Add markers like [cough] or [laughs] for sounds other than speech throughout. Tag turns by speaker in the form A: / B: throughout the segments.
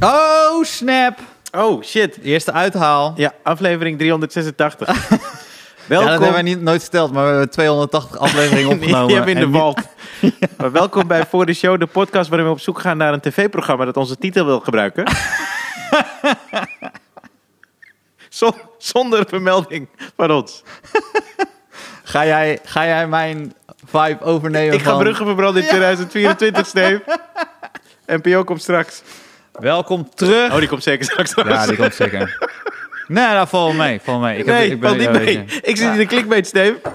A: Oh, snap!
B: Oh, shit.
A: Eerste uithaal.
B: Ja, aflevering 386.
A: [laughs] Ja, dat
B: welkom. [laughs]
A: hebben wij niet, nooit verteld, maar we hebben 280 afleveringen opgenomen.
B: Die hebben in
A: En
B: de
A: niet-
B: wald.
A: [laughs]
B: Maar welkom bij Voor de Show, de podcast waarin we op zoek gaan naar een tv-programma dat onze titel wil
A: [laughs]
B: gebruiken. Zon- zonder vermelding van ons.
A: Ga jij, ga jij mijn vibe overnemen
B: Ik ga
A: van-
B: bruggen verbranden in 2024,
A: [laughs]
B: Steve. NPO komt straks.
A: Welkom terug.
B: Oh, die komt zeker straks.
A: ja, die komt zeker. Nee, nou, val mee, val mee. Ik, heb-
B: nee,
A: ik oh,
B: val niet
A: ja, weet
B: mee.
A: je.
B: Ik zit in de clickbait, Steve. Oké.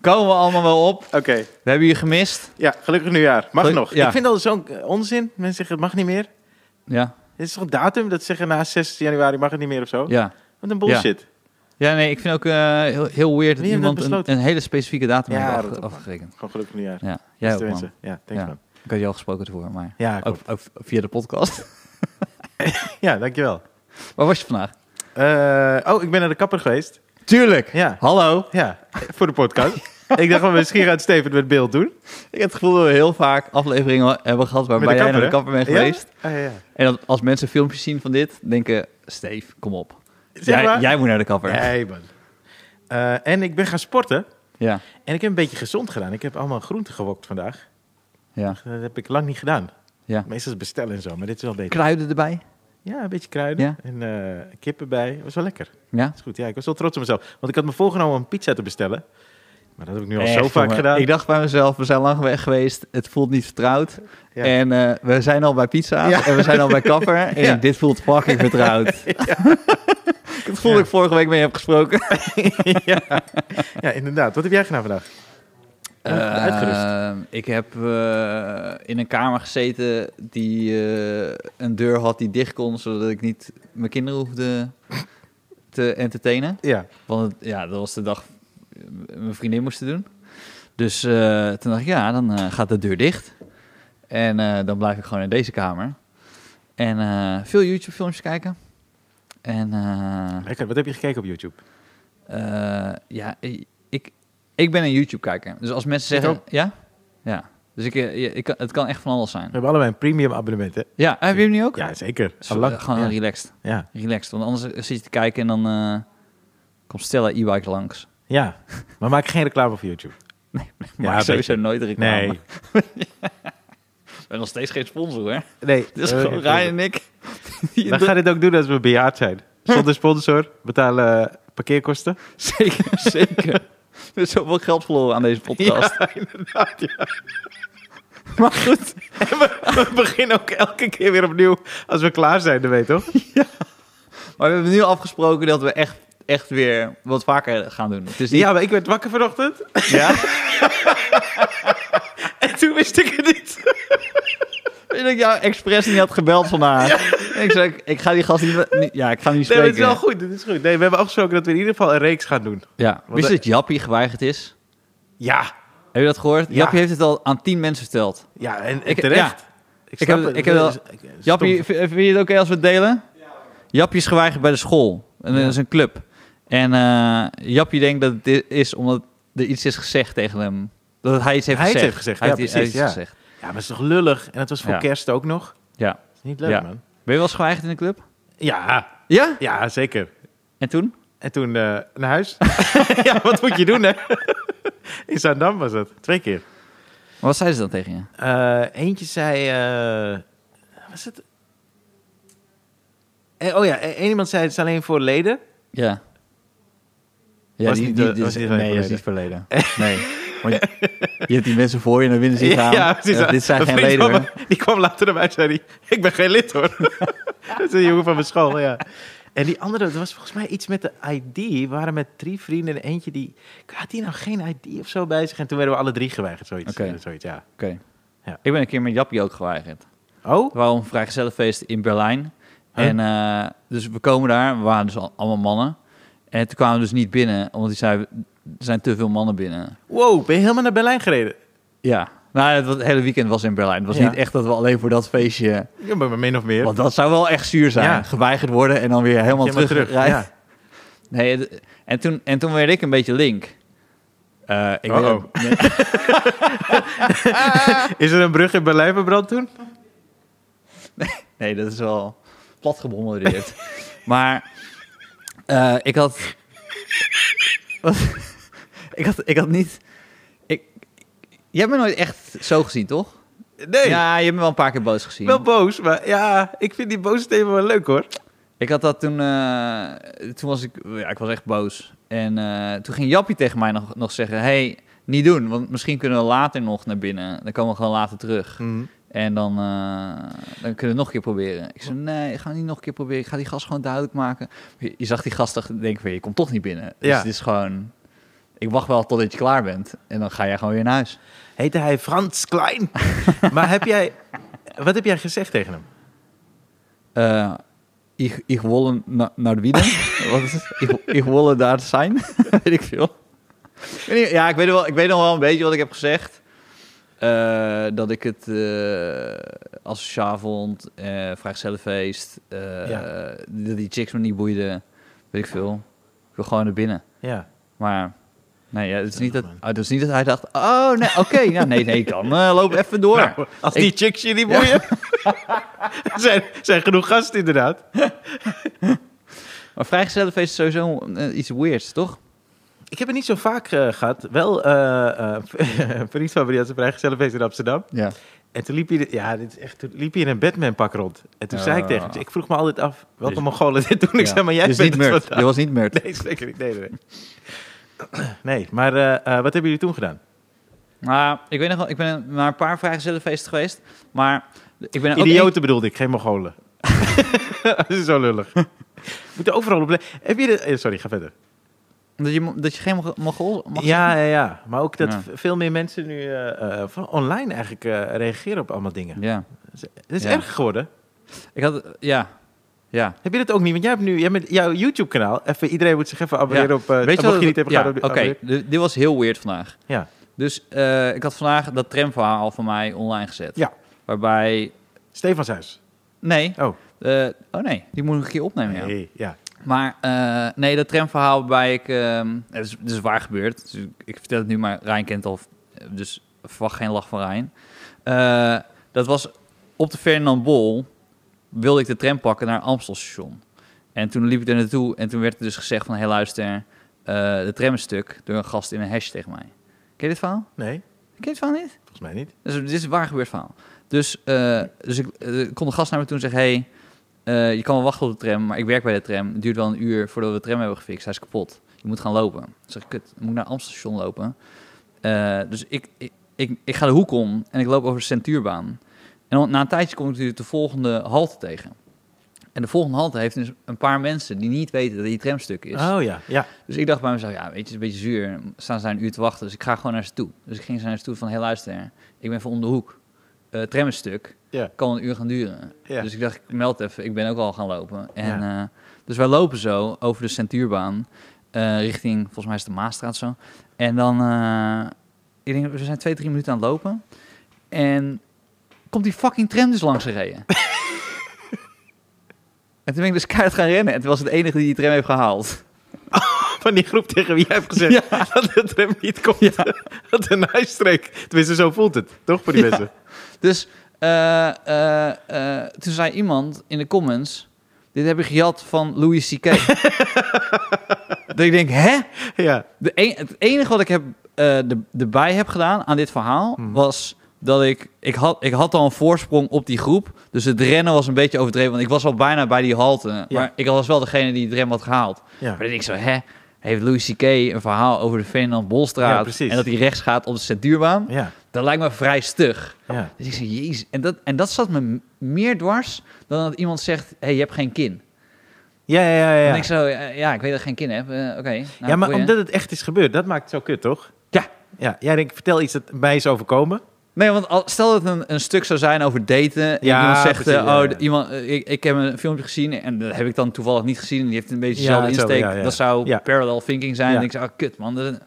A: Komen we allemaal wel op. We hebben je gemist.
B: Ja, gelukkig nieuwjaar. Mag
A: Geluk-
B: nog.
A: ja.
B: Ik vind dat zo'n eh, onzin. Mensen zeggen het mag niet meer.
A: Ja,
B: Dit is toch een datum dat ze zeggen na 6 januari mag het niet meer of zo?
A: ja.
B: Wat een bullshit.
A: Ja, nee, ik vind ook eh, heel, heel weird dat
B: Wie heeft dat
A: iemand een,
B: besloten?
A: een hele specifieke datum
B: Ja,
A: heeft
B: dat
A: afge-
B: ook, man.
A: afgerekend.
B: Gewoon gelukkig nieuwjaar.
A: Ja,
B: Ja,
A: jij ook, man.
B: ja thanks
A: Ja.
B: man.
A: Ik had je al gesproken ervoor, maar
B: Ja, klopt.
A: ook, ook via de podcast. [laughs]
B: Ja, dankjewel.
A: Waar was je vandaag?
B: Eh, oh, ik ben naar de kapper geweest.
A: Tuurlijk.
B: Ja.
A: Hallo.
B: Ja, voor de
A: [laughs]
B: podcast. ik dacht, wel, misschien gaat Steven het met beeld doen.
A: Ik heb het gevoel dat we heel vaak afleveringen hebben gehad waarbij jij naar de kapper bent
B: hè?
A: geweest.
B: Ja? Ah, ja, ja.
A: En dat als mensen filmpjes zien van dit, denken... Steve, kom op.
B: Zeg
A: Jij,
B: maar.
A: jij moet naar de kapper. Ja.
B: Nee, man. Eh, en ik ben gaan sporten.
A: Ja.
B: En ik heb een beetje gezond gedaan. Ik heb allemaal groenten gewokt vandaag. Dat heb ik lang niet gedaan.
A: Ja.
B: Meestal is het bestellen en zo, maar dit is wel beter.
A: Kruiden erbij.
B: Ja, een beetje kruiden
A: Ja.
B: en eh kippen bij. Was wel lekker.
A: Ja.
B: Is goed. Ja, ik was wel trots op mezelf. Want ik had me voorgenomen om pizza te bestellen. Maar dat heb ik nu al
A: Echt,
B: zo vaak
A: jongen.
B: gedaan.
A: Ik dacht bij mezelf, we zijn lang weg geweest. Het voelt niet vertrouwd.
B: Ja.
A: En eh, we zijn al bij pizza.
B: Ja.
A: En we zijn al bij
B: [laughs]
A: kapper. En
B: Ja.
A: dit voelt fucking
B: [laughs]
A: vertrouwd. Het voelde
B: Ja.
A: [laughs] ik vorige week mee heb gesproken.
B: ja. ja, inderdaad. Wat heb jij gedaan vandaag? Eh, uitgerust.
A: Eh, ik heb eh, in een kamer gezeten die eh, een deur had die dicht kon, zodat ik niet mijn kinderen hoefde te entertainen.
B: Ja.
A: Want het- ja, dat was de dag eh, mijn vriendin moest het doen. Dus eh, toen dacht ik, ja, dan eh, gaat de deur dicht. En eh, dan blijf ik gewoon in deze kamer. En eh, veel YouTube-filmpjes kijken. En eh,
B: Lekker. Wat heb je gekeken op YouTube?
A: eh, ja, ik, ik- ik ben een YouTube-kijker. Dus als mensen
B: Ik
A: zeggen... Ja? Ja. Dus ik, eh, ja, ik, kan- het kan echt van alles zijn.
B: We hebben allebei een premium abonnement, hè?
A: Ja, heb je hem nu ook?
B: Ja, zeker.
A: Zo,
B: Al Ah, lang.
A: eh, gewoon
B: ja.
A: relaxed.
B: Ja.
A: Relaxed. Want anders zit je te kijken en dan eh, komt Stella e-bike langs.
B: ja. Maar maak geen reclame voor YouTube.
A: Maar
B: weet
A: sowieso
B: je.
A: nooit reclame.
B: Nee.
A: We hebben nog steeds geen sponsor, hè?
B: [laughs] Nee.
A: [laughs] Het is
B: Eh,
A: gewoon Ryan en ik. [laughs] Die
B: Dan ga je dit ook doen als we bejaard zijn. Zonder sponsor, betalen eh, parkeerkosten.
A: Zeker, [laughs] zeker. Er is zoveel geld verloren aan
B: [laughs]
A: deze podcast.
B: Ja, inderdaad. Ja.
A: [laughs] Maar goed.
B: En we, [laughs] we beginnen ook elke keer weer opnieuw als we klaar zijn, dat weet je toch?
A: Maar we hebben nu afgesproken dat we echt, echt weer wat vaker gaan doen. Het is niet...
B: Ja, maar ik werd wakker vanochtend
A: ja?
B: en toen wist ik het niet.
A: Dat ik jou expres niet had gebeld vandaag. Ik zei, ik- ik ga die gast niet... niet- Ja, ik ga hem niet
B: Nee,
A: spreken.
B: maar het is wel goed, dit is goed. Nee, we hebben afgesproken dat we in ieder geval een reeks gaan doen.
A: Ja.
B: Want
A: Wist je
B: we-
A: dat Jappie geweigerd is?
B: Ja,
A: Heb je dat gehoord?
B: Ja.
A: Jappie heeft het al aan tien mensen verteld.
B: ja en, en
A: Ik-
B: terecht.
A: Ik
B: snap
A: heb-
B: het.
A: ik heb wel-
B: Dat is- ik-
A: Jappie,
B: stom.
A: v- vind je het oké als we het delen? Jappie is geweigerd bij de school. En dat
B: Ja.
A: is een club. En eh, Jappie denkt dat het i- is omdat er iets is gezegd tegen hem. Dat hij iets heeft
B: Hij iets
A: gezegd.
B: heeft gezegd,
A: Hij
B: ja,
A: heeft-
B: precies,
A: hij heeft
B: ja.
A: iets gezegd.
B: Ja, maar het is toch lullig? En het was voor
A: Ja.
B: kerst ook nog.
A: Ja.
B: Dat is niet leuk,
A: Ja.
B: man.
A: Ben je wel eens geweigerd in de club?
B: Ja,
A: Ja.
B: ja, zeker.
A: En toen?
B: En toen eh, naar [laughs] huis. ja, wat moet je doen, hè? [laughs] In Zaandam was dat. Twee keer.
A: Maar wat zeiden ze dan tegen je?
B: Eh, eentje zei. eh, was het. Eh, oh ja, één iemand zei het is alleen voor leden.
A: Ja. Ja,
B: Was
A: die,
B: niet
A: die-
B: de-
A: die-
B: was niet
A: nee,
B: alleen
A: dat is niet verleden. Nee.
B: [laughs]
A: Want je, je hebt die mensen voor je en dan winnen ze je aan.
B: precies.
A: Eh, dit zijn
B: Een
A: geen
B: vriend
A: leden.
B: van
A: hoor.
B: me, Die kwam later naar mij en zei: die, Ik ben geen lid hoor. [laughs] dat is een jongen van mijn school, ja. En die andere, dat was volgens mij iets met de ID. We waren met drie vrienden en eentje die. Had die nou geen ID of zo bij zich? En toen werden we alle drie geweigerd, zoiets. eh,
A: Oké.
B: zoiets ja.
A: Oké.
B: Ja.
A: Ik ben een keer met Jappie ook geweigerd.
B: Oh?
A: We waren op een vrijgezellenfeest in Berlijn.
B: Huh?
A: En eh, dus we komen daar, we waren dus al- allemaal mannen. En toen kwamen we dus niet binnen, omdat hij zei, er zijn te veel mannen binnen.
B: Wow, ben je helemaal naar Berlijn gereden?
A: Ja, nou, het, was- het hele weekend was in Berlijn. Het was
B: Ja.
A: niet echt dat we alleen voor dat feestje...
B: Ja, maar maar min of meer.
A: Want dat zou wel echt zuur zijn.
B: Ja.
A: Geweigerd worden en dan weer helemaal
B: Ja, maar
A: terug.
B: terug, ja.
A: Nee, het- en, toen, en toen werd ik een beetje link. Eh, ik
B: Uh-oh.
A: weet dat- nee. [laughs]
B: Is er een brug in Berlijn verbrand toen?
A: Nee, dat is wel plat
B: [laughs]
A: gebombardeerd. maar eh, ik had... Wat? ik had... Ik had niet... Ik... Jij hebt me nooit echt zo gezien, toch?
B: Nee.
A: Ja, je hebt me wel een paar keer boos gezien.
B: Wel boos, maar ja, ik vind die boze thema wel leuk hoor.
A: Ik had dat toen... eh, toen was ik... Ja, ik was echt boos. En eh, toen ging Jappie tegen mij nog, nog zeggen... hey, niet doen, want misschien kunnen we later nog naar binnen. Dan komen we gewoon later terug. En dan, eh, dan kunnen we het nog een keer proberen. Ik zei, nee, ik ga het niet nog een keer proberen. Ik ga die gast gewoon duidelijk maken. Je, je zag die gast toch denken van, je komt toch niet binnen. Dus
B: Ja.
A: het is gewoon... Ik wacht wel totdat je klaar bent. En dan ga jij gewoon weer naar huis.
B: Heette hij Frans Klein. [laughs] maar heb jij, wat heb jij gezegd tegen hem?
A: Eh, ik, ik wil na, naar Wieden. Wat is het? Ik, ik wil daar zijn. [laughs] weet ik veel. Ik weet niet- Ja, ik weet, wel, ik weet nog wel een beetje wat ik heb gezegd. Eh, dat ik het eh als vond, eh vrijgezellenfeest, eh,
B: Ja.
A: dat die chicks me niet boeiden, weet ik veel. Ik wil gewoon naar binnen.
B: Ja.
A: Maar nee, ja, het, is niet dat, oh, het is niet dat hij dacht, oh nee, oké, nou, nee, nee, dan eh, loop even door.
B: Als
A: Ik-
B: die chicks je niet boeien. [laughs] Er zijn, er zijn genoeg gasten inderdaad.
A: Maar vrijgezellenfeest is sowieso eh, iets weirds, toch?
B: Ik heb het niet zo vaak eh, gehad. Wel, eh [laughs] eh een vriend van me die had zijn vrijgezellenfeest in Amsterdam.
A: Ja.
B: En toen liep je, de- ja, dit is echt, toen liep je in een Batman-pak rond. En toen zei ik tegen hem, ik vroeg me altijd af welke
A: Dus-
B: Mongolen dit doen. Ik
A: Ja.
B: zei, maar jij
A: dus
B: bent
A: niet
B: het
A: Mert.
B: vandaag.
A: Je was niet Mert.
B: [laughs] Nee, zeker niet. Nee, nee, nee. [clears throat] Nee, maar eh, eh, wat hebben jullie toen gedaan?
A: Maar ik weet nog wel, ik ben naar een paar vrijgezellenfeesten geweest. Maar ik ben ook
B: Idioten bedoelde ik, geen Mongolen. [laughs] dat is zo [laughs] lullig. We moeten overal op... le- Heb je de... eh, Sorry, ga verder.
A: één- dat, je, mo- dat je geen Mongo- Mongool mag
B: ja, ja, ja, maar ook dat
A: Ja.
B: v- veel meer mensen nu eh, eh, van online eigenlijk eh, reageren op allemaal dingen.
A: Ja.
B: Het is
A: Ja.
B: erg geworden.
A: Ik had... Ja. Ja.
B: Heb je dat ook niet? Want jij hebt nu jij hebt jouw YouTube-kanaal. Even, iedereen moet zich even abonneren
A: Ja.
B: op... eh,
A: Weet je
B: mocht
A: wat-
B: je niet hebben
A: ja,
B: gedaan op
A: Oké, dit dit was heel weird vandaag.
B: Ja.
A: Dus eh, ik had vandaag dat tramverhaal van mij online gezet.
B: Ja.
A: Waarbij...
B: Stefans huis.
A: Nee.
B: Oh.
A: eh, oh nee, die moet ik nog een keer opnemen. ja.
B: Nee, ja.
A: Maar eh, nee, dat tramverhaal waarbij ik... ehm, het, is, het is waar gebeurd. Dus ik- ik vertel het nu, maar Rijn kent al... Dus verwacht geen lach van Rijn. Eh, dat was op de Ferdinand Bol wilde ik de tram pakken naar Amstelstation. En toen liep ik er naartoe en toen werd er dus gezegd van... Hé, luister, eh, de tram is stuk door een gast in een hash tegen mij. Ken je dit verhaal?
B: Nee,
A: Ken je dit verhaal niet?
B: volgens mij niet.
A: Dus dit is een waar gebeurd verhaal. Dus, eh, dus ik eh, kon de gast naar me toe en zeggen... Hey, eh, je kan wel wachten op de tram, maar ik werk bij de tram. Het duurt wel een uur voordat we de tram hebben gefixt. Hij is kapot. Je moet gaan lopen. Ik zeg, kut, dan moet ik naar Amstelstation lopen. Eh, dus ik, ik, ik, ik ga de hoek om en ik loop over de centuurbaan. En dan, na een tijdje kom ik natuurlijk de volgende halte tegen. En de volgende halte heeft dus een paar mensen die niet weten dat die tramstuk is.
B: Oh ja, ja.
A: Dus ik dacht bij mezelf, ja, weet je, het is een beetje zuur. Staan ze daar een uur te wachten, dus ik ga gewoon naar ze toe. Dus ik ging ze naar ze toe van, hé, luister, ik ben van om de hoek. Eh tram is stuk,
B: Ja.
A: kan een uur gaan duren.
B: Ja.
A: Dus ik dacht, ik meld even, ik ben ook al gaan lopen. En,
B: Ja.
A: eh, dus wij lopen zo over de centuurbaan, eh, richting, volgens mij is het de Maasstraat zo. En dan, eh, ik denk, we zijn twee, drie minuten aan het lopen. En komt die fucking tram dus langs
B: [laughs]
A: gereden. en toen ben ik dus keihard gaan rennen. En toen was het enige die die tram heeft gehaald.
B: [laughs] Van die groep tegen wie jij hebt gezegd [laughs] dat het hem niet komt. [laughs] Wat een huisstreek. Tenminste, zo voelt het. Toch voor die
A: Ja.
B: mensen?
A: Dus eh, eh, eh, toen zei iemand in de comments... Dit heb ik gejat van Louis
B: [laughs]
A: C.K. dat ik denk, hè?
B: Ja.
A: De een- het enige wat ik heb, eh, de, erbij heb gedaan aan dit verhaal...
B: Hmm.
A: was dat ik... Ik had, ik had al een voorsprong op die groep. Dus het rennen was een beetje overdreven. Want ik was al bijna bij die halte. Maar ik was wel degene die het rem had gehaald.
B: Ja.
A: Maar dan denk ik zo, hè? Heeft Louis C.K. een verhaal over de Ferdinand
B: Ja,
A: Bolstraat...
B: precies.
A: en dat hij rechts gaat op de Centuurbaan?
B: Ja.
A: Dat lijkt me vrij stug.
B: Ja.
A: Dus ik zei, jezus. En dat, en dat zat me m- meer dwars dan dat iemand zegt, hey, je hebt geen kin.
B: Ja, ja, ja.
A: En
B: Ja,
A: ik zo, eh, ja, ik weet dat ik geen kin heb. Eh, Oké. nou,
B: ja maar
A: boeien.
B: omdat het echt is gebeurd, dat maakt het zo kut, toch?
A: Ja.
B: Ja, jij denkt, vertel iets dat mij is overkomen.
A: Nee, want al, stel dat het een, een stuk zou zijn over daten. En
B: Ja,
A: iemand zegt,
B: precies,
A: eh,
B: ja,
A: oh,
B: ja.
A: d- Iemand, eh, ik, ik heb een filmpje gezien en dat heb ik dan toevallig niet gezien. En die heeft een beetje
B: Ja,
A: dezelfde
B: hetzelfde,
A: insteek.
B: ja, ja.
A: Dat zou
B: Ja.
A: parallel thinking zijn.
B: Ja.
A: En ik zei, oh, kut man. dat-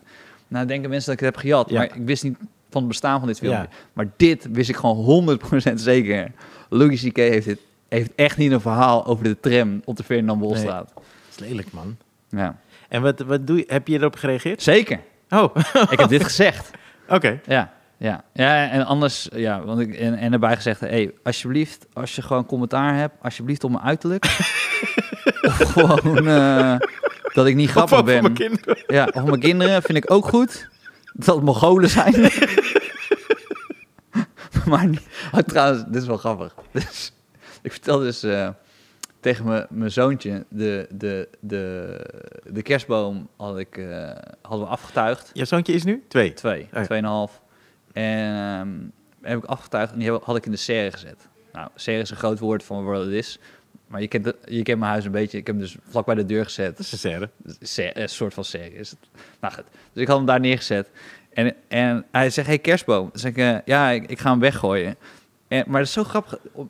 A: nou denken mensen dat ik het heb gejat.
B: Ja.
A: Maar ik wist niet van het bestaan van dit filmpje.
B: Ja.
A: Maar dit wist ik gewoon 100% zeker. Louis C.K. heeft, dit, heeft echt niet een verhaal over de tram op de Ferdinand Bolstraat.
B: Dat is lelijk, man.
A: Ja.
B: En wat, wat doe je? Heb je erop gereageerd?
A: Zeker.
B: Oh, [laughs] oké.
A: Ik heb dit gezegd. Ja, ja. ja en anders, ja, want ik, en, en erbij gezegd, hey, alsjeblieft, als je gewoon commentaar hebt, alsjeblieft op mijn
B: [laughs]
A: uiterlijk. of gewoon eh, dat ik niet
B: Op- op
A: grappig
B: voor
A: ben.
B: mijn kinderen.
A: Ja, of mijn kinderen vind ik ook goed. Dat het Mongolen zijn. [laughs] maar niet- oh, trouwens, dit is wel grappig. Dus, ik vertel dus eh, tegen mijn- mijn zoontje, de, de, de, de kerstboom had ik, eh, hadden we afgetuigd.
B: Je zoontje is nu? Twee.
A: Twee,
B: ja.
A: tweeënhalf. En ehm, heb ik afgetuigd en die heb- had ik in de serre gezet. Nou, serre is een groot woord van wat het is. Maar je kent, het- je kent mijn huis een beetje. Ik heb hem dus vlak bij de deur gezet
B: Dat is een serre.
A: se- een soort van serie is het. Nou goed, dus ik had hem daar neergezet. En, en hij zegt, hey kerstboom. Dan zeg ik, eh, ja, ik, ik ga hem weggooien. En, maar dat is zo grappig. Op-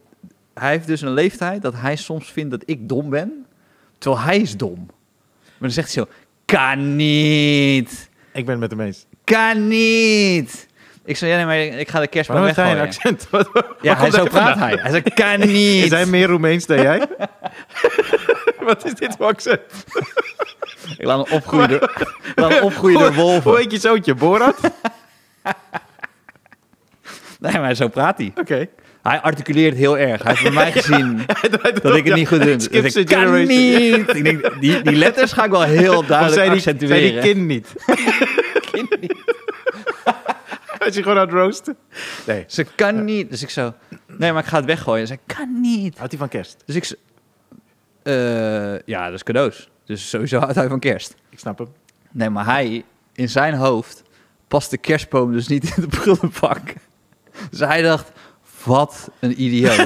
A: Hij heeft dus een leeftijd dat hij soms vindt dat ik dom ben. Terwijl hij is dom. Maar dan zegt hij zo, kan niet,
B: Ik ben het met hem eens.
A: kan niet. Ik zeg, ja nee, maar ik ga de kerstboom
B: Waarom heeft hij
A: weggooien.
B: een accent? [laughs] Wat- waar
A: ja, hij
B: komt
A: zo
B: dat
A: praat
B: vandaan?
A: hij. Hij zegt, kan niet.
B: [laughs] Is hij meer Roemeens dan jij? [laughs] Wat is dit voor accent?
A: Ik laat hem opgroeien door, ik laat hem opgroeien door
B: Hoe- Hoe
A: wolven.
B: heet je zoontje? Borat?
A: [laughs]
B: Oké.
A: Nee, maar zo praat hij.
B: [laughs]
A: Hij articuleert heel erg. Hij heeft bij mij gezien dat ik het niet goed doe. Dus
B: Skips
A: ik
B: the
A: kan
B: generation.
A: niet. Ik denk, die, die letters ga ik wel heel
B: Of
A: duidelijk
B: zei die, zei
A: accentueren.
B: die kind niet? [laughs] Als je gewoon aan het roosten. Nee.
A: [laughs] Ze kan niet. Dus ik zo... Nee, maar ik ga het weggooien. Ze kan niet.
B: Houdt hij van kerst?
A: Dus ik... zo- eh, ja, dat is cadeaus. Dus sowieso houdt hij van kerst.
B: Ik snap hem.
A: Nee, maar hij... In zijn hoofd past de kerstboom dus niet in de prullenbak. [laughs] Dus hij dacht... Wat een [laughs] idioot.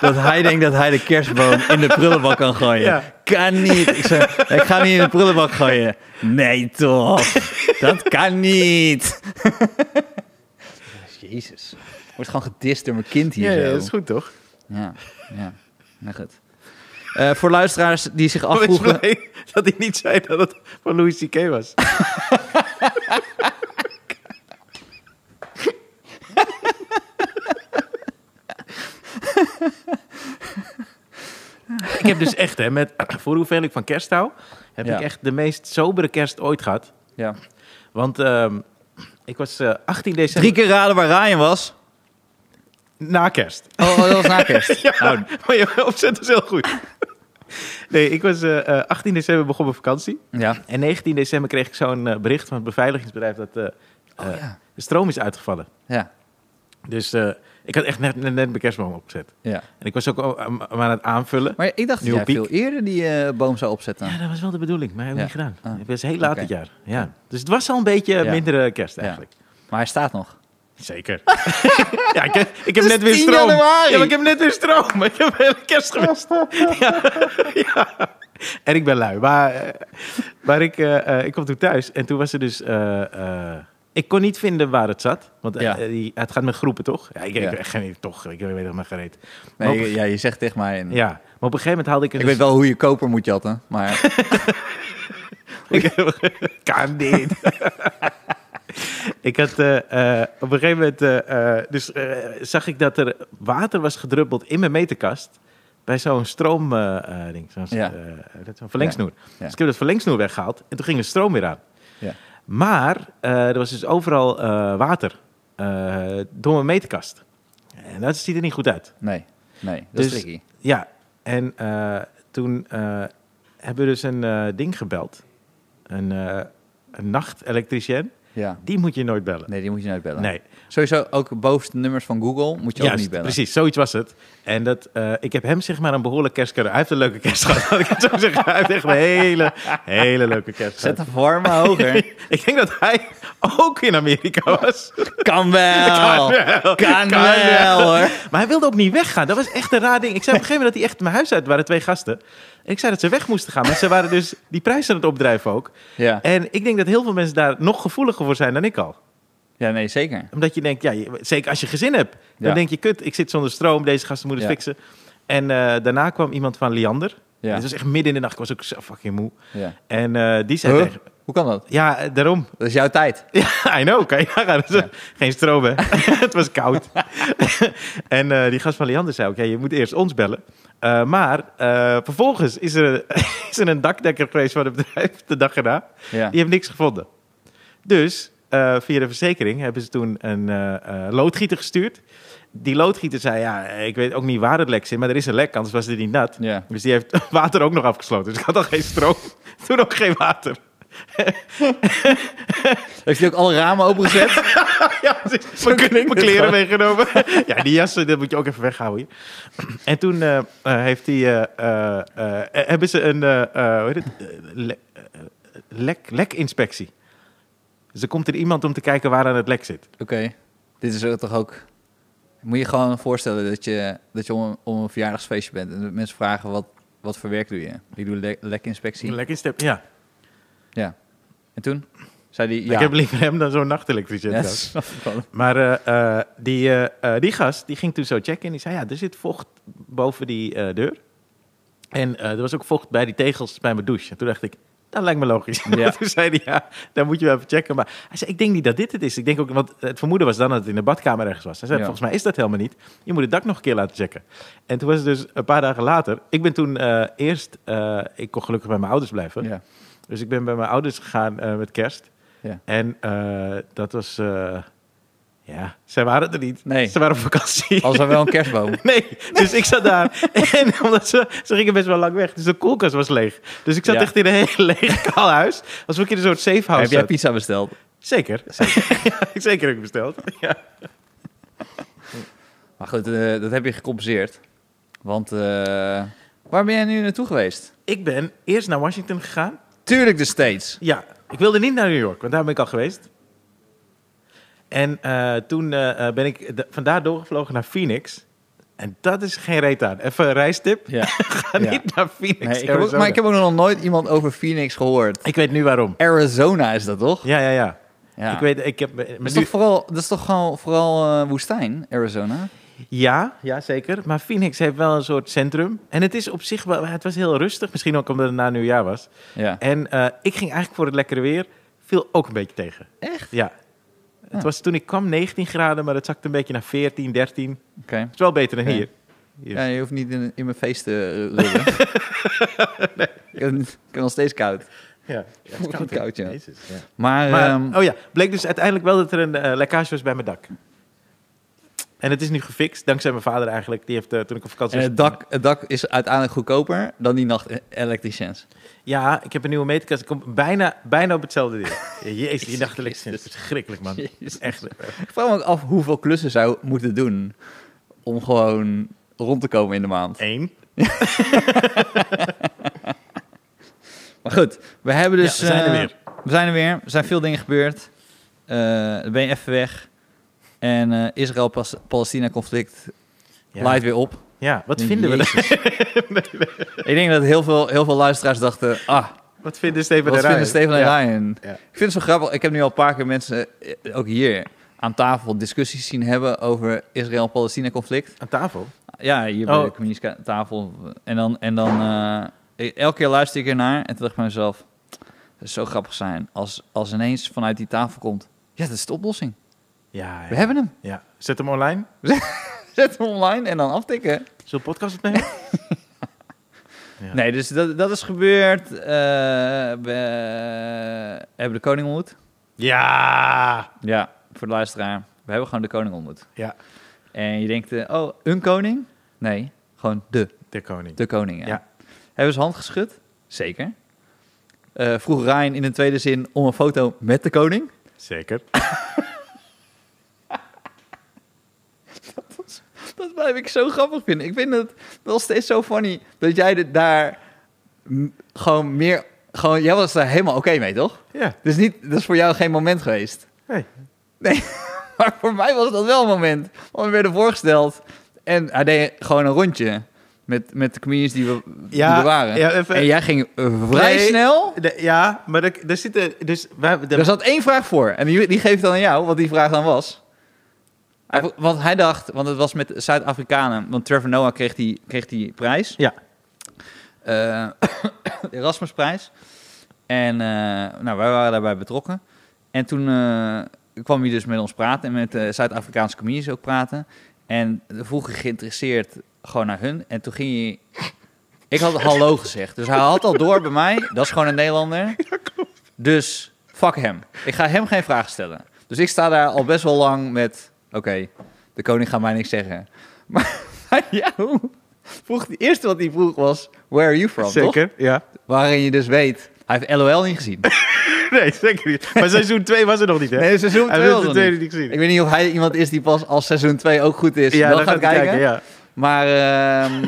A: dat hij denkt dat hij de kerstboom in de prullenbak kan gooien.
B: Ja.
A: Kan niet. Ik zei, ik ga hem niet in de prullenbak gooien. Nee toch, dat kan niet. [laughs] Jezus. Wordt gewoon gedist door mijn kind hier
B: Ja, ja,
A: zo.
B: dat is goed toch?
A: Ja, ja. Nou goed. Eh, voor luisteraars die zich
B: Ik ben
A: afvroegen...
B: blij [laughs] dat hij niet zei dat het van Louis C.K. was. [laughs] ik heb dus echt, hè, met, [clears throat] voor hoeveel ik van kerst hou, heb
A: Ja.
B: ik echt de meest sobere kerst ooit gehad.
A: Ja.
B: Want ehm, ik was eh, 18 december
A: Drie keer raden waar Ryan was.
B: na kerst.
A: Oh, oh, dat was na kerst.
B: Ja,
A: Oh,
B: [laughs] maar je opzet was heel goed. Nee, ik was eh, eh, 18 december begon mijn vakantie.
A: ja.
B: En 19 december kreeg ik zo'n eh, bericht van het beveiligingsbedrijf dat eh,
A: Oh,
B: eh,
A: ja.
B: de stroom is uitgevallen.
A: Ja.
B: Dus eh, ik had echt net, net, net mijn kerstboom opgezet.
A: ja.
B: En ik was ook al aan- aan het aanvullen.
A: Maar ik dacht dat
B: Nieuwe
A: jij
B: piek.
A: veel eerder die eh, boom zou opzetten.
B: Ja, dat was wel de bedoeling, maar ik heb ik niet gedaan.
A: Ah.
B: Het was heel laat
A: Oké.
B: dit jaar. Ja. Dus het was al een beetje
A: Ja.
B: mindere kerst eigenlijk.
A: Maar hij staat nog.
B: Zeker. [laughs] ja, ik, heb- ik heb
A: Het is
B: net weer
A: 10
B: stroom.
A: januari.
B: Ja, maar ik heb net weer stroom. [laughs] Ik heb hele kerst gemist. ja. [laughs] ja. En ik ben lui. Maar, eh, maar ik, eh, eh, ik kwam toen thuis en toen was er dus... eh, eh, ik kon niet vinden waar het zat. Want eh,
A: Ja.
B: eh, die, het gaat met groepen, toch? Ja, ik, ik
A: Ja.
B: heb echt geen idee, toch. Ik weet helemaal geen reet. Maar,
A: Nee,
B: op,
A: je- ja, je zegt tegen mij. en-
B: ja, dus- maar op een gegeven moment haalde ik... een
A: Hm. Ik weet wel hoe je koper moet jatten,
B: [laughs]
A: maar
B: kan dit. [laughs] ik had eh, eh, op een gegeven moment, eh, eh, dus eh, zag ik dat er water was gedruppeld in mijn meterkast. Bij zo'n stroom, eh, eh, ding, zo'n,
A: Ja.
B: eh, dat- zo'n verlengsnoer.
A: ja.
B: Dus ik heb dat verlengsnoer weggehaald en toen ging de stroom weer aan.
A: Ja.
B: Maar eh, er was dus overal eh, water eh, door mijn meterkast. En dat ziet er niet goed uit.
A: nee, nee, dat is
B: Dus-
A: tricky.
B: Ja, en eh, toen eh, hebben we dus een eh, ding gebeld. Een, eh, een nachtelektricien.
A: Ja,
B: Die moet je nooit bellen.
A: nee, die moet je nooit bellen.
B: Nee,
A: Sowieso ook bovenste nummers van Google moet je ook
B: juist,
A: niet bellen.
B: precies. Zoiets was het. En dat, eh, ik heb hem zeg maar een behoorlijk kerstcadeau. Hij heeft een leuke kerst gehad, [laughs] laat ik het zo zeggen. Hij heeft echt een hele, hele leuke kerst
A: Zet
B: gehad.
A: de vorm maar
B: [laughs]
A: hoger.
B: Ik denk dat hij ook in Amerika was.
A: kan wel.
B: wel.
A: Kan
B: Kan
A: wel,
B: wel.
A: hoor.
B: Maar hij wilde ook niet weggaan. Dat was echt een raar ding. Ik zei op een gegeven moment dat hij echt mijn huis uit waren, twee gasten. En ik zei dat ze weg moesten gaan. Maar ze waren dus die prijs aan het opdrijven ook.
A: Ja.
B: En ik denk dat heel veel mensen daar nog gevoeliger voor zijn dan ik al.
A: ja, nee, zeker.
B: Omdat je denkt, ja, je- zeker als je gezin hebt. Dan
A: Ja.
B: denk je, kut, ik zit zonder stroom. Deze gasten moeten het
A: Ja.
B: fixen. En eh, daarna kwam iemand van Liander.
A: Ja.
B: Het was echt midden in de nacht. Ik was ook zo fucking moe.
A: Ja.
B: En eh, die zei
A: Huh?
B: tegen
A: Hoe kan dat?
B: Ja, eh, daarom.
A: Dat is jouw tijd.
B: Ja, [laughs] I know, kan je nagaan. Dat is, eh, Geen stroom, hè? [laughs] het was koud. [laughs] en eh, die gast van Leander zei ook, ja, je moet eerst ons bellen. Eh, maar eh, vervolgens [laughs] is er, is er een dakdekker geweest van het bedrijf de dag erna.
A: Ja.
B: Die heeft niks gevonden. Dus eh, via de verzekering hebben ze toen een eh, eh, loodgieter gestuurd. Die loodgieter zei, ja, ik weet ook niet waar het lek zit, maar er is een lek, anders was het niet nat.
A: Ja.
B: Dus die heeft [laughs] water ook nog afgesloten. Dus ik had al geen stroom, [laughs] toen ook geen water.
A: Heeft hij ook alle ramen opengezet?
B: Ja, precies. mijn,
A: klinkt
B: mijn
A: het
B: kleren
A: gewoon.
B: meegenomen. [laughs] ja, die jassen, dat moet je ook even weghouden. hier. En toen eh, eh, heeft hij, eh, eh, eh, hebben ze een eh, eh, hoe heet het? Eh, le- eh, lek, lekinspectie. Dus er komt er iemand om te kijken waar aan het lek zit.
A: Oké, dit is ook toch ook... Moet je gewoon voorstellen dat je, dat je om, om een verjaardagsfeestje bent... en dat mensen vragen wat, wat voor werk doe je? Ik doe le- lekinspectie.
B: Lekinspectie, ja.
A: ja. En toen zei hij... Ja,
B: Ik heb liever hem dan zo'n nachtelektricien.
A: Ja,
B: trouwens.
A: snap ik wel.
B: Maar eh, eh, die, eh, eh, die gast die ging toen zo checken en die zei: Ja, er zit vocht boven die eh, deur. En eh, er was ook vocht bij die tegels bij mijn douche. En toen dacht ik: Dat lijkt me logisch.
A: Ja.
B: [laughs] toen zei hij: Ja, dan moet je wel even checken. Maar hij zei: Ik denk niet dat dit het is. Ik denk ook, want het vermoeden was dan dat het in de badkamer ergens was. Hij zei:
A: Ja.
B: Volgens mij is dat helemaal niet. Je moet het dak nog een keer laten checken. En toen was het dus een paar dagen later. Ik ben toen eh, eerst, eh, ik kon gelukkig bij mijn ouders blijven.
A: Ja.
B: Dus ik ben bij mijn ouders gegaan eh, met kerst.
A: Ja.
B: En eh, dat was... eh, ja, zij waren er niet.
A: Nee.
B: Ze waren op vakantie.
A: Al zou wel een kerstboom.
B: [laughs] Nee, dus ik zat daar. [laughs] En omdat ze, ze gingen best wel lang weg. Dus de koelkast was leeg. Dus ik zat
A: Ja.
B: echt in een heel [laughs] leeg kaal huis. Alsof ik in een soort safe house
A: Heb jij
B: zat.
A: pizza besteld?
B: Zeker. Zeker. [laughs] ja, zeker heb ik besteld. [laughs] Ja.
A: Maar goed, eh, dat heb je gecompenseerd. Want eh, waar ben jij nu naartoe geweest?
B: Ik ben eerst naar Washington gegaan.
A: Tuurlijk dus de States.
B: Ja, ik wilde niet naar New York, want daar ben ik al geweest. En eh, toen eh, eh, ben ik d- vandaar doorgevlogen naar Phoenix. En dat is geen reet aan. Even een reistip.
A: Ja.
B: [laughs] Ga
A: Ja.
B: niet naar Phoenix,
A: Nee, ik heb ook,
B: Arizona.
A: maar ik heb ook nog nooit iemand over Phoenix gehoord.
B: Ik weet nu waarom.
A: Arizona is dat toch?
B: Ja, ja, ja.
A: Ja.
B: Ik weet, ik heb... maar
A: dat, is
B: nu-
A: toch vooral, dat is toch gewoon vooral eh, woestijn, Arizona?
B: Ja, ja, zeker. Maar Phoenix heeft wel een soort centrum. En het is op zich wel... Het was heel rustig. Misschien ook omdat het na nieuwjaar was.
A: Ja.
B: En eh, ik ging eigenlijk voor het lekkere weer. Viel ook een beetje tegen.
A: Echt?
B: Ja. Het
A: Ah.
B: was toen ik kwam 19 graden, maar dat zakte een beetje naar 14, 13. Het
A: Oké.
B: is wel beter dan
A: Ja.
B: hier. Hier.
A: Ja, je hoeft niet in, in mijn feest te
B: [laughs]
A: rullen. ik, heb, ik heb nog steeds koud.
B: Ja, het is
A: Koud,
B: hè?
A: koud, ja.
B: Jezus, ja.
A: Maar,
B: Maar,
A: ehm,
B: oh ja, bleek dus uiteindelijk wel dat er een eh, lekkage was bij mijn dak. En het is nu gefixt, dankzij mijn vader eigenlijk. Die heeft eh, toen ik op vakantie
A: en
B: was...
A: het, dak, het dak is uiteindelijk goedkoper dan die nacht eh, elektriciens.
B: Ja, ik heb een nieuwe meterkast. Ik kom bijna, bijna op hetzelfde deel.
A: [laughs]
B: Jezus, die nacht is verschrikkelijk, man.
A: Jezus.
B: Echt.
A: Ik vraag me ook af hoeveel klussen zou moeten doen om gewoon rond te komen in de maand.
B: Eén.
A: Maar goed, we hebben dus...
B: Ja, we zijn er
A: eh,
B: weer.
A: We zijn er weer. Er zijn veel dingen gebeurd. Eh, dan ben je even weg. En eh, Israël-Palestina-conflict
B: Ja.
A: laait weer op.
B: Ja, wat
A: Ik denk,
B: vinden we?
A: Jezus.
B: [laughs]
A: Ik denk dat heel veel, heel veel luisteraars dachten... Ah,
B: Wat vinden Steven
A: wat
B: en Ryan?
A: vinden Steven en
B: Ja.
A: Ryan?
B: Ja.
A: Ik vind het zo grappig. Ik heb nu al een paar keer mensen, eh, ook hier, aan tafel discussies zien hebben over Israël-Palestina-conflict.
B: Aan tafel?
A: Ja, hier bij
B: Oh.
A: de communicatietafel. En dan, en dan eh, elke keer luister ik ernaar en toen dacht ik bij mezelf... Het zou zo grappig zijn als, als ineens vanuit die tafel komt... Ja, dat is de oplossing.
B: Ja,
A: We
B: ja.
A: hebben hem. [laughs]
B: ja. Zet hem online.
A: Zet hem online en dan aftikken.
B: Zullen we podcast opnemen? Ja.
A: Nee, dus dat, dat is gebeurd. Eh, we hebben de koning ontmoet.
B: ja!
A: Ja, voor de luisteraar. We hebben gewoon de koning ontmoet.
B: Ja,
A: En je denkt, eh, oh, een koning? Nee, gewoon de,
B: de koning.
A: de koning. Ja.
B: Ja.
A: Hebben ze hand geschud? Zeker. Eh, vroeg Ryan in de tweede zin om een foto met de koning. [laughs]
B: Zeker.
A: Dat blijf ik zo grappig vinden. Ik vind het wel steeds zo funny dat jij dit daar m, gewoon meer... Gewoon, jij was daar helemaal oké mee, toch?
B: Ja.
A: Dus niet, dat is voor jou geen moment geweest.
B: Hey.
A: Nee, [laughs] maar voor mij was dat wel een moment. Want we werden voorgesteld en hij deed gewoon een rondje met, met de comedians die, we, die
B: Ja,
A: er waren.
B: ja, even-
A: en jij ging eh, vrij
B: Nee.
A: snel.
B: De- ja, maar er, er zitten... Dus wij, de-
A: Er zat één vraag voor en die, die geef ik dan aan jou, wat die vraag dan was.
B: Eh.
A: Hij- Want hij dacht, want het was met Zuid-Afrikanen, want Trevor Noah kreeg die, kreeg die prijs.
B: Ja.
A: Eh, [coughs] de Erasmusprijs. En eh, nou, wij waren daarbij betrokken. En toen eh, kwam hij dus met ons praten en met de Zuid-Afrikaanse comedians ook praten. En vroeg ik geïnteresseerd gewoon naar hun. En toen ging hij...
B: [laughs]
A: Ik had hallo gezegd. Dus hij had al door bij mij. Dat is gewoon een Nederlander. Dus fuck hem. Ik ga hem geen vragen stellen. Dus ik sta daar al best wel lang met... Oké, de koning gaat mij niks zeggen. [laughs] Maar, maar jou vroeg... Het eerste wat hij vroeg was... Where are you from, toch?
B: Zeker, ja.
A: Waarin je dus weet... Hij heeft LOL niet gezien.
B: [laughs] Nee, zeker niet. Maar seizoen 2 was er nog niet, hè?
A: Nee, seizoen
B: Hij
A: 2
B: heeft
A: was
B: de
A: nog
B: tweede
A: niet.
B: niet gezien.
A: Ik weet niet of hij iemand is die pas als seizoen 2 ook goed is. Ja,
B: dan
A: wel gaat,
B: hij
A: kijken.
B: ja.
A: Maar,
B: [laughs]
A: ehm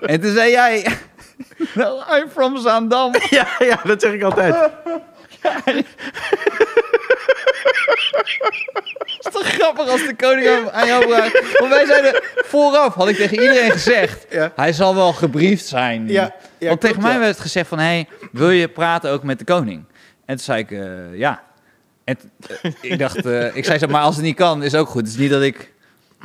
A: en toen zei jij... [laughs] No, I'm from
B: [laughs]
A: Zaandam.
B: Ja, ja, dat zeg ik altijd.
A: [laughs] Het is toch grappig als de koning aan- aan jou vraagt. Want wij zeiden vooraf, had ik tegen iedereen gezegd,
B: Ja.
A: hij zal wel gebriefd zijn.
B: Ja, ja,
A: Want
B: klopt,
A: tegen mij
B: ja.
A: werd gezegd van, hey, wil je praten ook met de koning? En toen zei ik, eh, ja. En t- eh, ik dacht, eh, ik zei zo, maar als het niet kan, is ook goed. Het is niet dat ik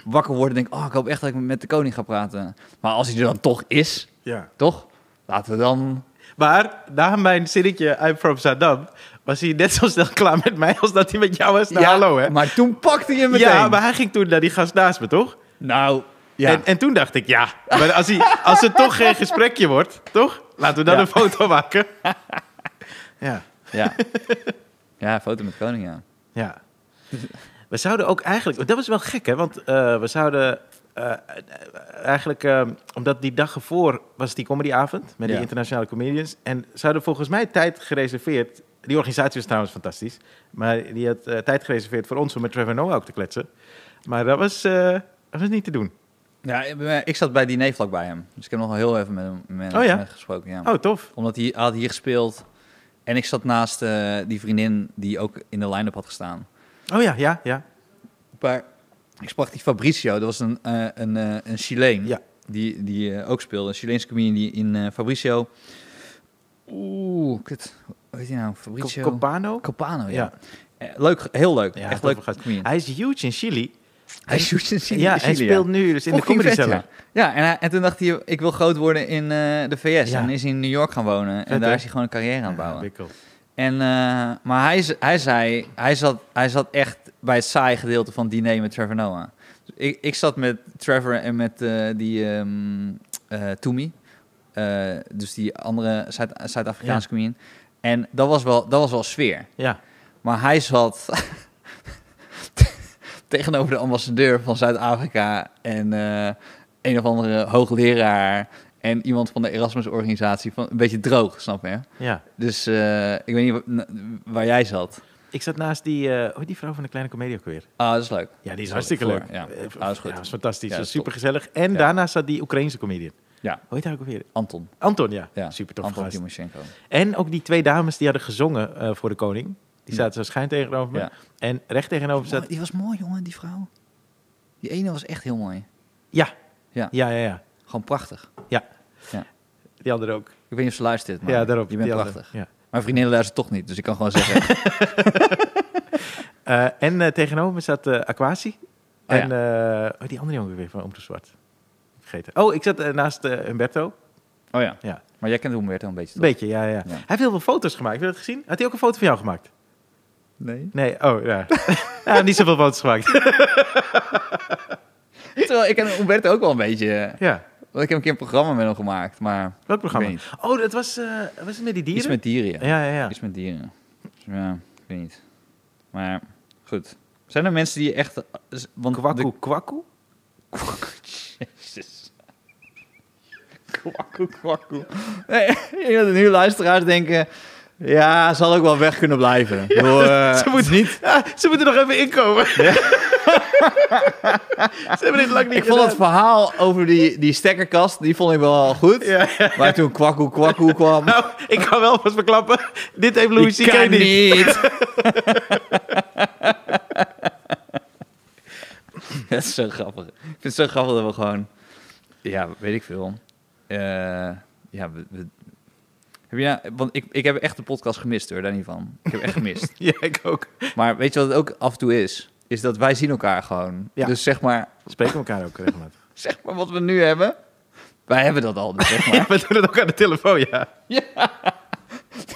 A: wakker word en denk, oh, ik hoop echt dat ik met de koning ga praten. Maar als hij er dan toch is,
B: Ja.
A: toch? Laten we dan...
B: Maar na mijn zinnetje I'm from Saddam was hij net zo snel klaar met mij als dat hij met jou was. Nou,
A: Ja,
B: hallo, hè?
A: Maar toen pakte je hem meteen.
B: Ja, maar hij ging toen naar die gast naast me, toch?
A: Nou, ja.
B: En, en toen dacht ik, ja, maar als, hij, als het toch geen gesprekje wordt, toch? Laten we dan
A: Ja.
B: een foto maken.
A: [laughs]
B: Ja,
A: ja. ja, foto met de koning, ja.
B: ja. We zouden ook eigenlijk... Dat was wel gek, hè? Want eh, we zouden eh, eh, eigenlijk... eh, omdat die dag ervoor was die comedyavond met
A: Ja.
B: die internationale comedians. En zouden volgens mij tijd gereserveerd... Die organisatie was trouwens fantastisch. Maar die had eh, tijd gereserveerd voor ons om met Trevor Noah ook te kletsen. Maar dat was, eh, dat was niet te doen.
A: Ja, ik ben- ik zat bij het diner vlak bij hem. Dus ik heb nog wel heel even met hem, met,
B: Oh ja?
A: met hem gesproken. Ja.
B: Oh, tof.
A: Omdat hij had hier gespeeld. En ik zat naast eh, die vriendin die ook in de line-up had gestaan.
B: Oh ja, ja, ja.
A: Maar ik sprak die Fabricio. Dat was een, eh, een, eh, een Chileen.
B: Ja.
A: Die, die eh, ook speelde. Een Chileense comedian die in eh, Fabricio... Oeh, kut. Hoe heet hij nou? Fabricio...
B: Copano?
A: Copano, ja.
B: Ja.
A: Eh, Leuk, heel leuk.
B: Ja,
A: Echt
B: toffe
A: leuk
B: gast.
A: comedian.
B: Hij is huge in Chili.
A: Hij shoot in Chili.
B: ja,
A: in
B: hij
A: Chili,
B: speelt nu dus in de
A: Fucking
B: comedy
A: vet,
B: cellar.
A: ja. Ja, en, hij- en toen dacht hij, ik wil groot worden in eh, de VS.
B: Ja.
A: En is hij in New York gaan wonen. en
B: Vet,
A: daar
B: hè?
A: is hij gewoon een carrière aan het bouwen.
B: Wikkel.
A: en, eh, maar hij, z- hij zei, hij zat, hij zat echt bij het saaie gedeelte van het diner met Trevor Noah. Dus ik, ik zat met Trevor en met eh, die ehm eh, Toomey. Eh, dus die andere Zuid- Zuid-Afrikaanse
B: Ja.
A: comedian. En dat was, wel, dat was wel sfeer.
B: Ja.
A: Maar hij zat [laughs] tegenover de ambassadeur van Zuid-Afrika en eh, een of andere hoogleraar en iemand van de Erasmus-organisatie. Van, een beetje droog, snap je?
B: ja.
A: Dus eh, ik weet niet wa- n- waar jij zat.
B: Ik zat naast die, eh oh, die vrouw van de kleine comedie ook weer.
A: Ah, dat is leuk.
B: Ja, die is
A: Sorry,
B: hartstikke
A: voor-
B: leuk.
A: ja.
B: Eh,
A: Ah, dat is goed.
B: Ja, was fantastisch.
A: Ja,
B: was
A: dat is top.
B: supergezellig. En
A: Ja.
B: daarna zat die Oekraïense comedian.
A: Ja,
B: Hoe heet hij ook weer?
A: Anton.
B: Anton, ja.
A: Ja,
B: Super tof
A: Anton
B: gast.
A: Timoshenko.
B: En ook die twee dames die hadden gezongen eh, voor de koning.
A: Ja.
B: Die zaten zo schuin tegenover me.
A: Ja.
B: En recht tegenover zat...
A: Mooi, die was mooi, jongen, die vrouw. Die ene was echt heel mooi.
B: Ja.
A: Ja.
B: Ja, ja, ja.
A: Gewoon prachtig.
B: Die andere ook.
A: Ik weet niet of ze luistert, maar
B: ja, daarop.
A: je bent
B: die andere.
A: prachtig.
B: Ja.
A: Mijn vriendin luistert toch niet, dus ik kan gewoon
B: [laughs]
A: zeggen...
B: Eh, en eh, tegenover me zat eh Aquasi.
A: Oh,
B: en eh, oh, die andere jongen weer van Omroep Zwart. Vergeten. Oh, ik zat eh, naast eh, Humberto.
A: oh ja.
B: Ja,
A: Maar jij kent Humberto een beetje,
B: een
A: toch?
B: beetje, ja, ja. Hij heeft heel veel foto's gemaakt. Heb je dat gezien? Had hij ook een foto van jou gemaakt?
A: Nee.
B: Nee, oh, ja. [laughs] Hij heeft niet zoveel foto's gemaakt. [laughs]
A: Terwijl ik ken Humberto ook wel een beetje.
B: ja,
A: Want ik heb een keer een programma met hem gemaakt, maar
B: welk programma?
A: Ik weet
B: Oh, dat was, eh, was het met die dieren?
A: iets met dieren. Ja.
B: Ja, ja, ja.
A: Iets met dieren. Dus ja, ik weet niet. Maar goed. Zijn er mensen die echt... Want
B: Kwakkoe, kwakkoe?
A: De, Jezus. Kwakkoe, kwakkoe. [laughs] Nee, ik denk dat er nu luisteraars denken... Ja, zal ook wel weg kunnen
B: [laughs]
A: blijven. Ik bedoel, eh,
B: ze moeten [laughs] niet. ze moeten nog even inkomen. [laughs] ze hebben dit lang niet
A: ik vond het verhaal over die, die stekkerkast, die vond ik wel goed.
B: Ja, ja.
A: Maar toen kwakkoe, kwakkoe kwam...
B: Nou, ik kan wel vast verklappen. Dit heeft
A: ik
B: Louis C.K.
A: kan
B: niet. [laughs]
A: niet. [laughs] dat is zo grappig. Ik vind het zo grappig dat we gewoon... Ja, weet ik veel. Eh, ja, we, we- heb je nou- want ik, ik heb echt de podcast gemist hoor, daar niet van. Ik heb echt
B: [laughs]
A: gemist.
B: Ja, ik ook.
A: maar weet je wat het ook af en toe is? Is dat wij zien elkaar gewoon.
B: Ja.
A: Dus zeg maar,
B: Spreken elkaar ook regelmatig.
A: zeg maar wat we nu hebben. Wij hebben dat al, dus zeg maar.
B: [laughs]
A: [laughs]
B: Ja, we doen het ook aan de telefoon, ja.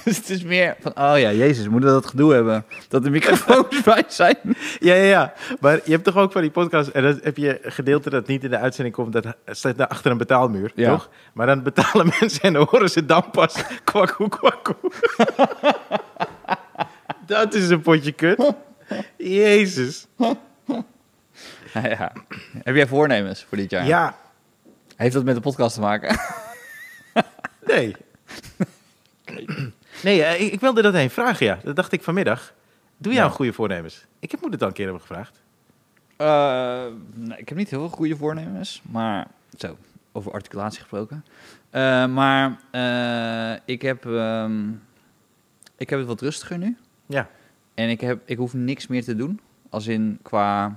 A: dus het is meer van, oh ja, jezus, we moeten dat gedoe hebben. Dat de microfoons [laughs] bij zijn.
B: Ja, ja, ja. Maar je hebt toch ook van die podcast... en dan heb je een gedeelte dat niet in de uitzending komt... dat staat daar achter een betaalmuur,
A: Ja.
B: toch? Maar [laughs] dan betalen mensen en dan horen ze dan pas... kwakkoe, kwakkoe. [laughs] Dat is een potje kut. Jezus.
A: Ja, [laughs] ja. Heb jij voornemens voor dit jaar?
B: Ja.
A: Heeft dat met de podcast te
B: [laughs]
A: maken?
B: Nee. Nee, eh, ik, ik wilde dat heen vragen, ja. Dat dacht ik vanmiddag. Doe jij
A: Ja.
B: een goede voornemens? Ik heb moeder dan een keer hebben gevraagd.
A: Eh, nee, ik heb niet heel veel goede voornemens, maar zo, over articulatie gesproken. Eh, maar eh, ik, heb, ehm, ik heb het wat rustiger nu.
B: Ja.
A: En ik, heb, ik hoef niks meer te doen. Als in qua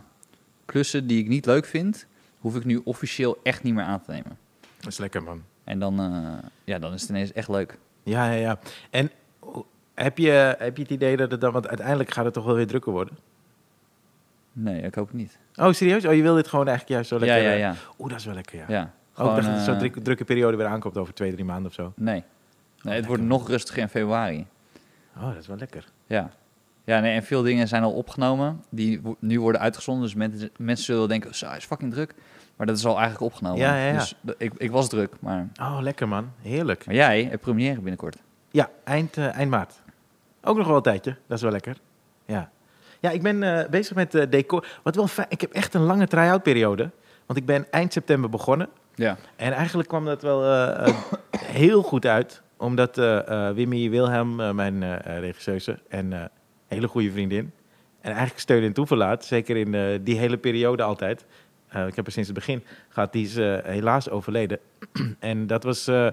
A: klussen die ik niet leuk vind, hoef ik nu officieel echt niet meer aan te nemen.
B: Dat is lekker, man.
A: En dan, eh, ja, dan is het ineens echt leuk.
B: Ja, ja, ja. En hoe- heb je, heb je het idee dat het dan... Want uiteindelijk gaat het toch wel weer drukker worden?
A: Nee, ik hoop het niet.
B: Oh, serieus? Oh, je wil dit gewoon eigenlijk juist zo
A: Ja,
B: lekker... eh,
A: ja, ja.
B: Oeh, dat is wel lekker, ja.
A: ja.
B: Ook
A: Gewoon,
B: dacht dat het zo'n
A: eh,
B: drukke, drukke periode weer aankomt over twee, drie maanden of zo.
A: Nee. nee het wordt
B: Oh, lekker.
A: nog rustiger in februari.
B: Oh, dat is wel lekker.
A: Ja. Ja, nee, en veel dingen zijn al opgenomen. Die wo- nu worden uitgezonden. Dus mensen, mensen zullen denken, zo, hij is fucking druk. Maar dat is al eigenlijk opgenomen.
B: Ja, ja, ja.
A: Dus d- ik, ik was druk, maar...
B: Oh, lekker man. Heerlijk.
A: Maar jij hebt première binnenkort.
B: Ja, eind, eh, eind maart. Ook nog wel een tijdje. Dat is wel lekker. Ja, ja ik ben eh, bezig met eh, decor. Wat wel fijn. Ik heb echt een lange try-out periode. Want ik ben eind september begonnen.
A: Ja.
B: En eigenlijk kwam dat wel eh, eh, heel goed uit. Omdat eh, eh, Wimmy Wilhelm, eh, mijn eh eh, regisseuse en eh, hele goede vriendin. En eigenlijk steun en toeverlaat. Zeker in eh, die hele periode altijd. Eh, ik heb er sinds het begin gehad. Die is eh, helaas overleden. [clears throat] en dat was eh,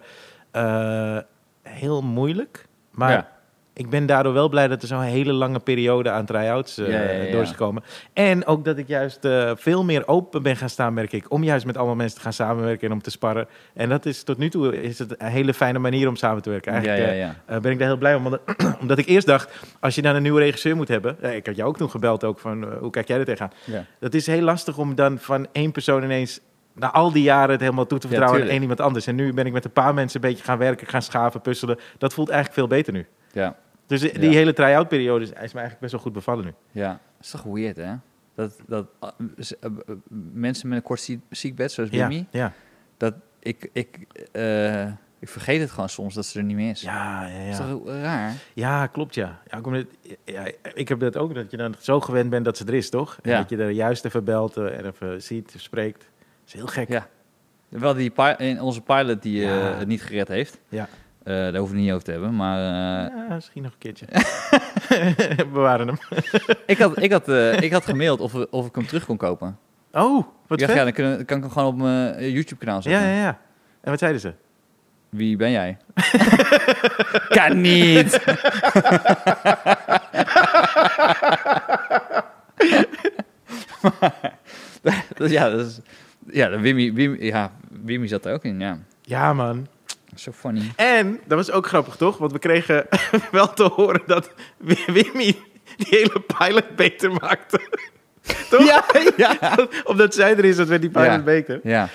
B: eh, heel moeilijk. Maar
A: Ja.
B: ik ben daardoor wel blij dat er zo'n hele lange periode aan try-outs eh,
A: Ja, ja, ja.
B: door is gekomen. En ook dat ik juist eh, veel meer open ben gaan staan, merk ik. Om juist met allemaal mensen te gaan samenwerken en om te sparren. En dat is tot nu toe is het een hele fijne manier om samen te werken.
A: Ja, ja,
B: Eigenlijk eh,
A: ja.
B: eh, ben ik daar heel blij om. want- omdat [clears throat] ik eerst dacht, als je dan een nieuwe regisseur moet hebben. eh, ik had jou ook toen gebeld ook van, eh, hoe kijk jij er tegenaan?
A: Ja.
B: Dat is heel lastig om dan van één persoon ineens na al die jaren het helemaal toe te
A: Ja,
B: vertrouwen aan
A: tuurlijk.
B: één iemand anders. En nu ben ik met een paar mensen een beetje gaan werken, gaan schaven, puzzelen. Dat voelt eigenlijk veel beter nu.
A: Ja.
B: Dus die
A: Ja.
B: hele try-out periode is, is me eigenlijk best wel goed bevallen nu.
A: Ja. is toch weird, hè? Dat, dat ah, z- eh, eh, mensen met een kort zie- ziekbed, zoals
B: Ja,
A: Bimmy...
B: ja.
A: Dat ik... Ik, eh, ik vergeet het gewoon soms dat ze er niet meer is.
B: Ja, ja,
A: Is
B: ja.
A: toch raar?
B: ja, klopt ja. ja, ik kom net- ja, Ik heb dat ook, dat je dan zo gewend bent dat ze er is, toch? En
A: Ja.
B: Dat je er juist even belt eh, en even ziet, spreekt. Dat is heel gek.
A: Ja. Wel, die pi- in onze pilot die eh,
B: Ja.
A: het niet gered heeft.
B: Ja.
A: Eh, daar hoeven we het niet over te hebben. Maar eh,
B: Ja, misschien nog een
A: [laughs]
B: keertje. We waren hem.
A: ik, had, ik, had, eh, ik had gemaild of, we- of ik hem terug kon kopen.
B: Oh, wat
A: ik dacht, ja,
B: vet.
A: dan, kunnen, dan kan ik hem gewoon op mijn YouTube-kanaal
B: Ja,
A: zetten.
B: ja, ja. En wat zeiden ze?
A: Wie ben jij? [laughs] kan niet! [laughs] maar, dus ja, dat is, ja, de Wimmy, Wimmy, ja, Wimmy zat er ook in, ja.
B: Ja, man.
A: Zo funny.
B: En, dat was ook grappig, toch? Want we kregen [laughs] wel te horen dat Wimmy die hele pilot beter maakte. [laughs] Toch?
A: Ja, ja.
B: Omdat zij er is, dat werd die pilot
A: Ja.
B: beter.
A: ja.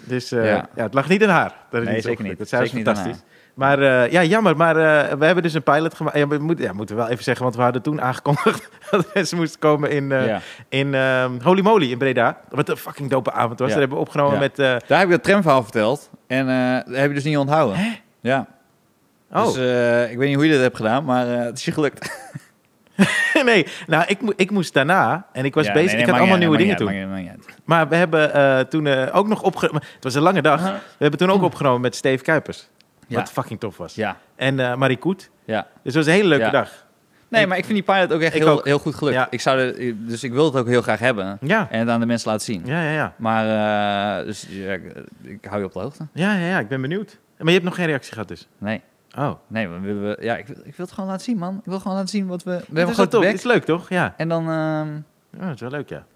B: Dus eh,
A: Ja.
B: ja. het lag niet aan haar. Dat is
A: Nee,
B: niet zo
A: zeker
B: gelukt.
A: niet.
B: Dat zij was
A: Zeker niet aan
B: fantastisch. Maar eh, ja, jammer. Maar eh, we hebben dus een pilot gemaakt. Ja, we moeten, ja, moeten we wel even zeggen, want we hadden toen aangekondigd [laughs] dat mensen moesten komen in, eh,
A: ja.
B: in ehm, Holy Moly in Breda. Wat een fucking dope avond was.
A: Ja.
B: Dat hebben we opgenomen
A: Ja.
B: met... eh,
A: Daar heb ik dat tramverhaal verteld. En eh, dat heb je dus niet onthouden. Ja.
B: oh,
A: Dus eh, ik weet niet hoe je dat hebt gedaan, maar eh, het is je gelukt.
B: [laughs] nee. Nou, ik, mo- ik moest daarna en ik was
A: eh, Ja,
B: bezig.
A: nee, nee,
B: ik had
A: maakt niet
B: allemaal
A: uit,
B: nieuwe dingen
A: maakt
B: toen.
A: niet uit, maakt niet uit, maakt niet
B: Maar we hebben eh, toen eh, ook nog opgenomen... Het was een lange dag.
A: Huh? Hm.
B: We hebben toen ook opgenomen met Steve Kuipers.
A: Ja.
B: Wat fucking tof was.
A: uit. Ja,
B: En eh Marie Koet.
A: ja.
B: Dus het was een hele leuke
A: Ja.
B: dag.
A: Nee,
B: Ik-
A: maar ik vind die pilot ook echt
B: Ik
A: heel,
B: ook.
A: heel goed gelukt.
B: Ja.
A: Ik zou er, dus ik wil het ook heel graag hebben.
B: Ja,
A: En het aan de mensen laten zien.
B: ja, ja, ja.
A: Maar eh, dus, ja, ik, ik hou je op de hoogte.
B: Ja, ja, ja, ik ben benieuwd. Maar je hebt nog geen reactie gehad dus?
A: Nee,
B: Oh.
A: nee want we, we- ja, ik, wil- ik wil het gewoon laten zien, man. Ik wil gewoon laten zien wat we... We
B: Dat
A: hebben
B: is wel
A: gewoon
B: top. Het
A: back.
B: is leuk, toch? Ja.
A: En dan, ehm,
B: ja. Dat is wel leuk, [laughs] ja.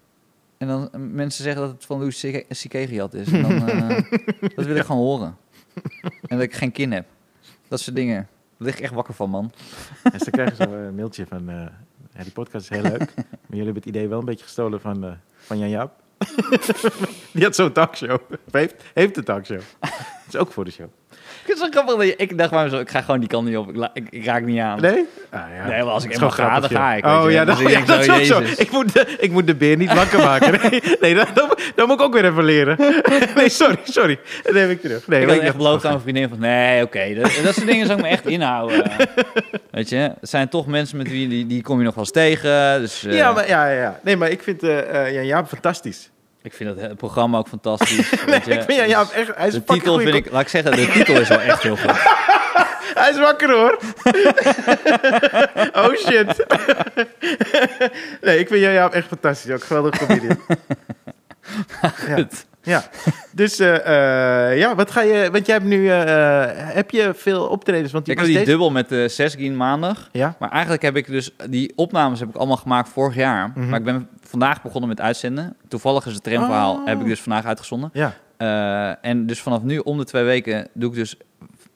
A: en dan eh, mensen zeggen dat het van Louis Sike- Sikegiat is. En dan, [laughs] eh, dat wil ik gewoon horen. En dat ik geen kin heb. Dat soort dingen. Daar lig ik echt wakker van, man.
B: En dan krijgen ze een mailtje van... eh, ja, die podcast is heel [laughs] leuk. Maar jullie hebben het idee wel een beetje gestolen van, eh, van Jan Jaap. [laughs] die had zo'n talkshow. Of Heeft, heeft een talkshow. [laughs] Dat is ook voor de show.
A: Het is wel grappig dat je... Ik dacht bij mezelf, ik ga gewoon die kant niet op. Ik, la- ik, ik raak niet aan.
B: Nee? Ah, ja.
A: Nee, maar als ik
B: Dat is gewoon
A: eenmaal ga, dan
B: grappig,
A: ga
B: joh.
A: ik. weet
B: Oh
A: je.
B: ja,
A: Dus
B: dat,
A: ik
B: ja,
A: denk
B: dat is ook zo.
A: Jezus.
B: Ik moet, de, ik moet de beer niet wakker maken. Nee, nee dat, dat, dat moet ik ook weer even leren. [laughs] Nee, sorry, sorry. Dat neem ik terug. Nee,
A: Ik had
B: maar ik
A: echt
B: dacht-
A: beloofd aan mijn vriendin van, nee, oké, dat, dat soort dingen zou ik
B: [laughs]
A: me echt inhouden. Weet je, het zijn toch mensen met wie, die, die kom je nog wel eens tegen. Dus eh,
B: Ja, maar, ja, ja, ja. Nee, maar ik vind eh eh, Jan Jaap fantastisch.
A: ik vind dat het programma ook
B: [laughs]
A: fantastisch. weet je.
B: Ik vind Jan Jaap echt... Hij is
A: de
B: fucking
A: titel
B: goeie
A: vind ik, laat ik zeggen,
B: [laughs]
A: de titel is wel echt heel goed.
B: Hij is wakker
A: [laughs]
B: hoor. oh shit. [laughs] nee, ik vind jij Jaap echt fantastisch. Ook geweldig
A: [laughs]
B: comedian. ja. ja. Dus eh, eh, ja, wat ga je... Want jij hebt nu... eh, eh, heb je veel optredens? Want je
A: Ik had
B: was
A: die
B: deze-
A: dubbel met de Sesgien maandag.
B: Ja.
A: Maar eigenlijk heb ik dus, die opnames heb ik allemaal gemaakt vorig jaar.
B: Mhm.
A: Maar ik ben vandaag begonnen met uitzenden. Toevallig is het tramverhaal,
B: Oh.
A: heb ik dus vandaag uitgezonden.
B: Ja.
A: Eh, en dus vanaf nu om de twee weken doe ik dus...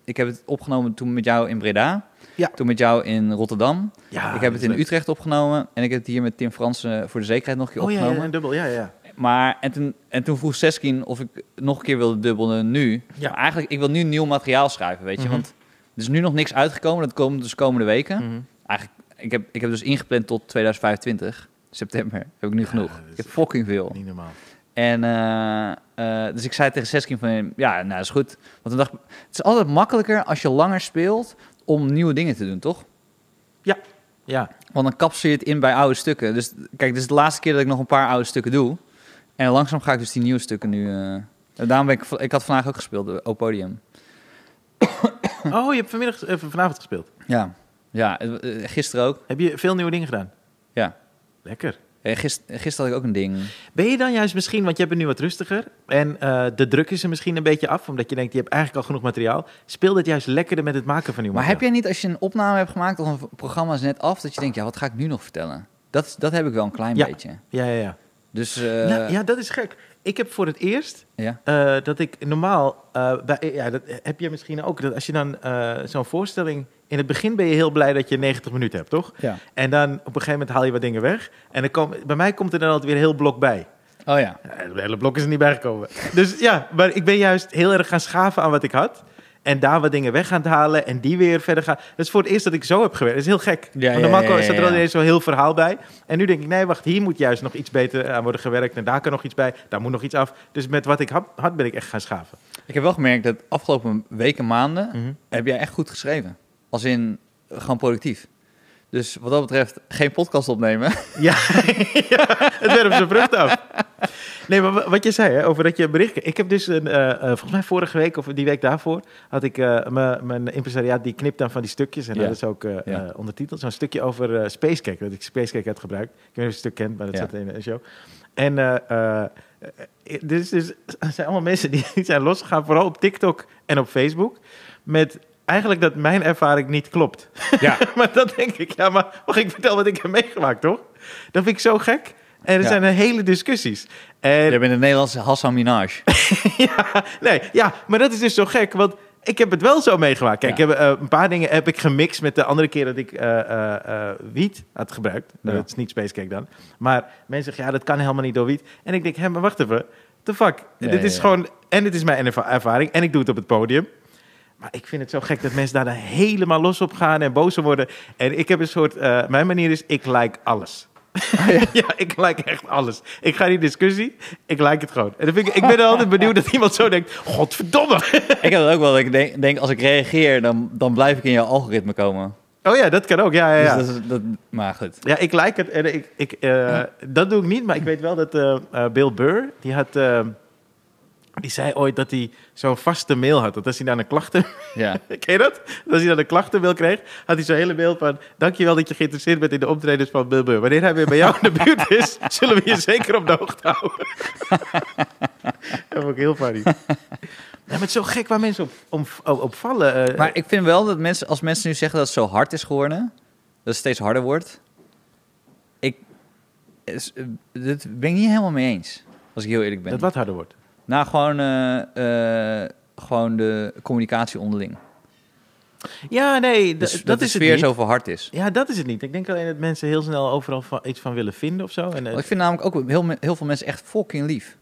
A: Ik heb het opgenomen toen met jou in Breda.
B: Ja.
A: Toen met jou in Rotterdam.
B: ja.
A: ik heb het in
B: leuk.
A: Utrecht opgenomen. En ik heb het hier met Tim Fransen voor de zekerheid nog een keer
B: Oh ja, ja,
A: opgenomen.
B: een dubbel. Ja, ja.
A: Maar en toen, en toen vroeg Seskin of ik nog een keer wilde dubbelen nu.
B: Ja.
A: Maar eigenlijk, ik wil nu nieuw materiaal schrijven, weet je.
B: Mhm.
A: Want er is nu nog niks uitgekomen. Dat komt dus komende weken.
B: Mhm.
A: Eigenlijk, ik heb, ik heb dus ingepland tot 2025. September heb ik nu genoeg.
B: dat is
A: Ik heb fucking veel.
B: Niet normaal.
A: En eh, eh, dus ik zei tegen Seskin van, ja, nou is goed. Want dan dacht ik, het is altijd makkelijker als je langer speelt om nieuwe dingen te doen, toch?
B: Ja.
A: [laughs] Want dan kapsel je het in bij oude stukken. Dus kijk, dit is de laatste keer dat ik nog een paar oude stukken doe. En langzaam ga ik dus die nieuwe stukken nu... eh, en daarom ben ik... va- Ik had vandaag ook gespeeld, eh, op podium.
B: Oh, je hebt vanmiddag, eh, vanavond gespeeld.
A: Ja. Ja, eh, eh, gisteren ook.
B: Heb je veel nieuwe dingen gedaan?
A: Ja.
B: Lekker.
A: Eh, gis- eh, Gisteren had ik ook een ding.
B: Ben je dan juist misschien, want je bent nu wat rustiger en eh, de druk is er misschien een beetje af, omdat je denkt, je hebt eigenlijk al genoeg materiaal. Speel dit juist lekkerder met het maken van nieuw
A: Maar heb
B: materiaal.
A: jij niet, als je een opname hebt gemaakt of een v- programma is net af, dat je denkt, ja, wat ga ik nu nog vertellen? Dat, is- dat heb ik wel een klein
B: Ja.
A: beetje.
B: Ja, ja, ja.
A: Dus eh,
B: nou,
A: ja.
B: ja, dat is gek. Ik heb voor het eerst eh, dat ik normaal, eh, bij, ja, dat heb je misschien ook, dat als je dan eh, zo'n voorstelling, in het begin ben je heel blij dat je 90 minuten hebt, toch?
A: Ja.
B: En dan op een gegeven moment haal je wat dingen weg en dan kom, bij mij komt er dan altijd weer een heel blok bij.
A: Oh ja.
B: Ja, Het hele blok is er niet bijgekomen. Dus ja, maar ik ben juist heel erg gaan schaven aan wat ik had. En daar wat dingen weg gaan halen en die weer verder gaan. Dat is voor het eerst dat ik zo heb gewerkt. Dat is heel gek.
A: Ja,
B: Want
A: ja,
B: normaal
A: ja, ja,
B: staat er
A: ja.
B: altijd zo'n heel verhaal bij. En nu denk ik, nee, wacht, hier moet juist nog iets beter aan worden gewerkt. En daar kan nog iets bij, daar moet nog iets af. Dus met wat ik had, had ben ik echt gaan schaven.
A: Ik heb wel gemerkt dat afgelopen weken, maanden,
B: Mhm.
A: heb jij echt goed geschreven. Als in eh, gewoon productief. Dus wat dat betreft, geen podcast opnemen.
B: Ja, [laughs] ja, het werpt zijn vrucht af. Nee, maar wa- wat je zei hè, over dat je bericht... Ik heb dus, een, eh, eh, volgens mij vorige week of die week daarvoor... had ik eh, me- mijn impresariaat, die knipt dan van die stukjes. En
A: Ja.
B: dat is ook eh,
A: Ja.
B: eh, ondertiteld. Zo'n stukje over eh Spacecake, dat ik Spacecake had gebruikt. Ik weet niet of je het stuk kent, maar dat
A: Ja.
B: zat in een show. En eh eh, eh, dus, dus er zijn allemaal mensen die zijn losgegaan, vooral op TikTok en op Facebook... met eigenlijk dat mijn ervaring niet klopt.
A: [laughs] Ja.
B: [laughs] maar dat denk ik, ja, maar mag ik vertel wat ik heb meegemaakt, toch? Dat vind ik zo gek. En er
A: Ja.
B: zijn er hele discussies. En,
A: Jij bent een Nederlandse Hassan Minaj.
B: ja, nee, ja, maar dat is dus zo gek, want ik heb het wel zo meegemaakt. Kijk,
A: Ja.
B: ik heb, eh, een paar dingen heb ik gemixt met de andere keer dat ik eh, eh, eh, wiet had gebruikt.
A: Ja.
B: Dat is niet Spacecake dan. Maar mensen zeggen, ja, dat kan helemaal niet door wiet. En ik denk, hé, maar wacht even. The fuck?
A: Ja,
B: dit
A: ja,
B: is
A: ja.
B: gewoon... En dit is mijn erva- ervaring. En ik doe het op het podium. Maar ik vind het zo gek dat mensen daar dan helemaal los op gaan en boos om worden. En ik heb een soort... eh, mijn manier is, ik like alles. Ah, [laughs] ja. ik like echt alles. Ik ga in die discussie, ik like het gewoon. En dan vind ik, ik ben er altijd [laughs] benieuwd dat iemand zo denkt, godverdomme.
A: ik heb dat ook wel. dat Ik denk, denk als ik reageer, dan, dan blijf ik in jouw algoritme komen.
B: oh ja, dat kan ook, ja, ja, ja.
A: Dus dat, is- dat, maar goed.
B: Ja, ik like het. En ik, ik, eh, Dat doe ik niet, maar ik weet wel dat eh, eh, Bill Burr, die had... eh, die zei ooit dat hij zo'n vaste mail had. Dat als hij dan een klachten... [laughs]
A: Ja.
B: Ken je dat? Dat als hij dan een klachtenmail kreeg, had hij zo'n hele mail van... Dankjewel dat je geïnteresseerd bent in de optredens van Bill Burr. Wanneer hij weer bij jou in de buurt is, zullen we je zeker op de hoogte houden. [laughs] dat vond ik heel funny. Ja, maar het is zo gek waar mensen op, om, op, op vallen. eh.
A: Maar ik vind wel dat mensen, als mensen nu zeggen dat het zo hard is geworden, dat het steeds harder wordt. Ik, is, eh, dit ben ik niet helemaal mee eens. Als ik heel eerlijk ben.
B: dat wat harder wordt.
A: Nou, gewoon, eh, eh, gewoon de communicatie onderling.
B: Ja, nee, d-
A: Dus
B: dat,
A: dat de
B: is het
A: sfeer
B: niet.
A: zo verhard is.
B: Ja, dat is het niet. Ik denk alleen dat mensen heel snel overal van, iets van willen vinden of zo. En, eh,
A: Want ik vind namelijk ook heel, me- heel veel mensen echt fucking lief.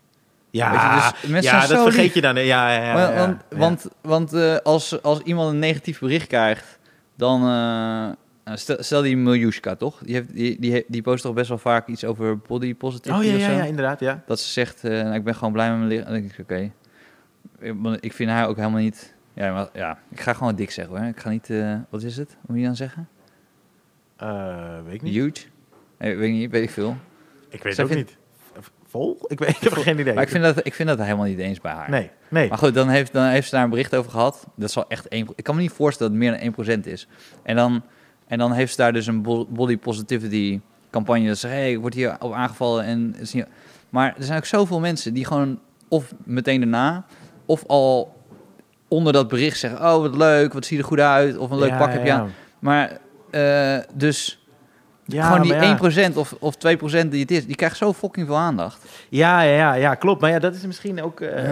B: ja,
A: weet je, dus mensen
B: ja
A: zijn
B: dat
A: zo
B: vergeet
A: lief.
B: je dan. hè. Ja, ja, ja,
A: Maar-
B: ja,
A: want
B: ja.
A: want, want eh, als, als iemand een negatief bericht krijgt, dan, eh, nou, stel, stel die Miljushka, toch? Die, heeft, die, die, he- die post toch best wel vaak iets over body positivity
B: Oh ja,
A: of
B: ja,
A: zo?
B: ja, inderdaad, ja.
A: Dat ze zegt, eh, nou, ik ben gewoon blij met mijn lichaam. Dan denk ik, oké. Ik- want Ik vind haar ook helemaal niet... Ja, maar, ja, ik ga gewoon dik zeggen hoor. Ik ga niet... eh, wat is het? Moet je dan zeggen?
B: Eh, weet ik niet.
A: Huge? Nee, weet ik niet, weet ik veel.
B: Ik weet
A: Zij
B: het ook
A: vindt-
B: niet. Vol? Ik, weet, ik heb geen idee.
A: Maar ik vind, dat, ik vind dat helemaal niet eens bij haar.
B: Nee, nee.
A: Maar goed, dan heeft, dan heeft ze daar een bericht over gehad. Dat zal echt 1%. Ik kan me niet voorstellen dat het meer dan 1% is. En dan, en dan heeft ze daar dus een bo- body positivity campagne. Dat ze zegt, hey, ik word hier op aangevallen. En het is niet... Maar er zijn ook zoveel mensen die gewoon of meteen daarna... of al onder dat bericht zeggen... oh, wat leuk, wat zie je er goed uit... of een leuk
B: Ja,
A: pak heb je
B: ja.
A: aan. Maar eh, dus...
B: Ja,
A: gewoon
B: maar
A: die
B: ja.
A: 1% of, of 2% die het is, die krijgt zo fucking veel aandacht.
B: Ja, ja, ja, ja, klopt. Maar ja, dat is misschien ook. eh,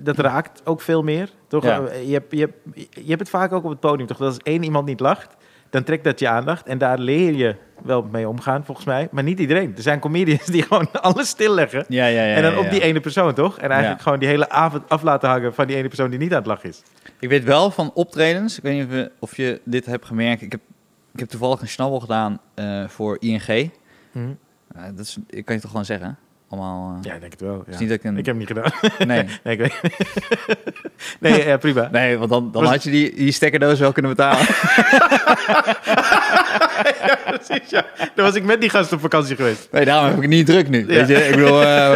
B: dat raakt ook veel meer. Toch?
A: Ja.
B: Eh, Je, hebt, je, hebt, je hebt het vaak ook op het podium, toch? Dat als één iemand niet lacht, dan trekt dat je aandacht. En daar leer je wel mee omgaan, volgens mij. Maar niet iedereen. Er zijn comedians [laughs] die gewoon alles stilleggen.
A: Ja, ja, ja.
B: en dan op die ene persoon, toch? En eigenlijk
A: Ja.
B: gewoon die hele avond af laten hangen van die ene persoon die niet aan het lachen is.
A: Ik weet wel van optredens, ik weet niet of je, of je dit hebt gemerkt. Ik heb, ik heb toevallig een snabbel gedaan eh, voor ING. Nou, dat is, ik kan je toch gewoon zeggen? Allemaal. eh,
B: Mhm. Ja, ik denk het wel. ja.
A: is niet dat ik een.
B: Ik heb hem niet gedaan.
A: Nee.
B: Nee, ik weet [laughs] Nee, ja, prima.
A: Nee, want dan, dan
B: Was-
A: had je die, die stekkerdoos wel kunnen betalen.
B: Precies, ja. Dan was ik met die gast op vakantie geweest.
A: Nee, daarom heb ik het niet druk nu. Weet je, ik bedoel, eh,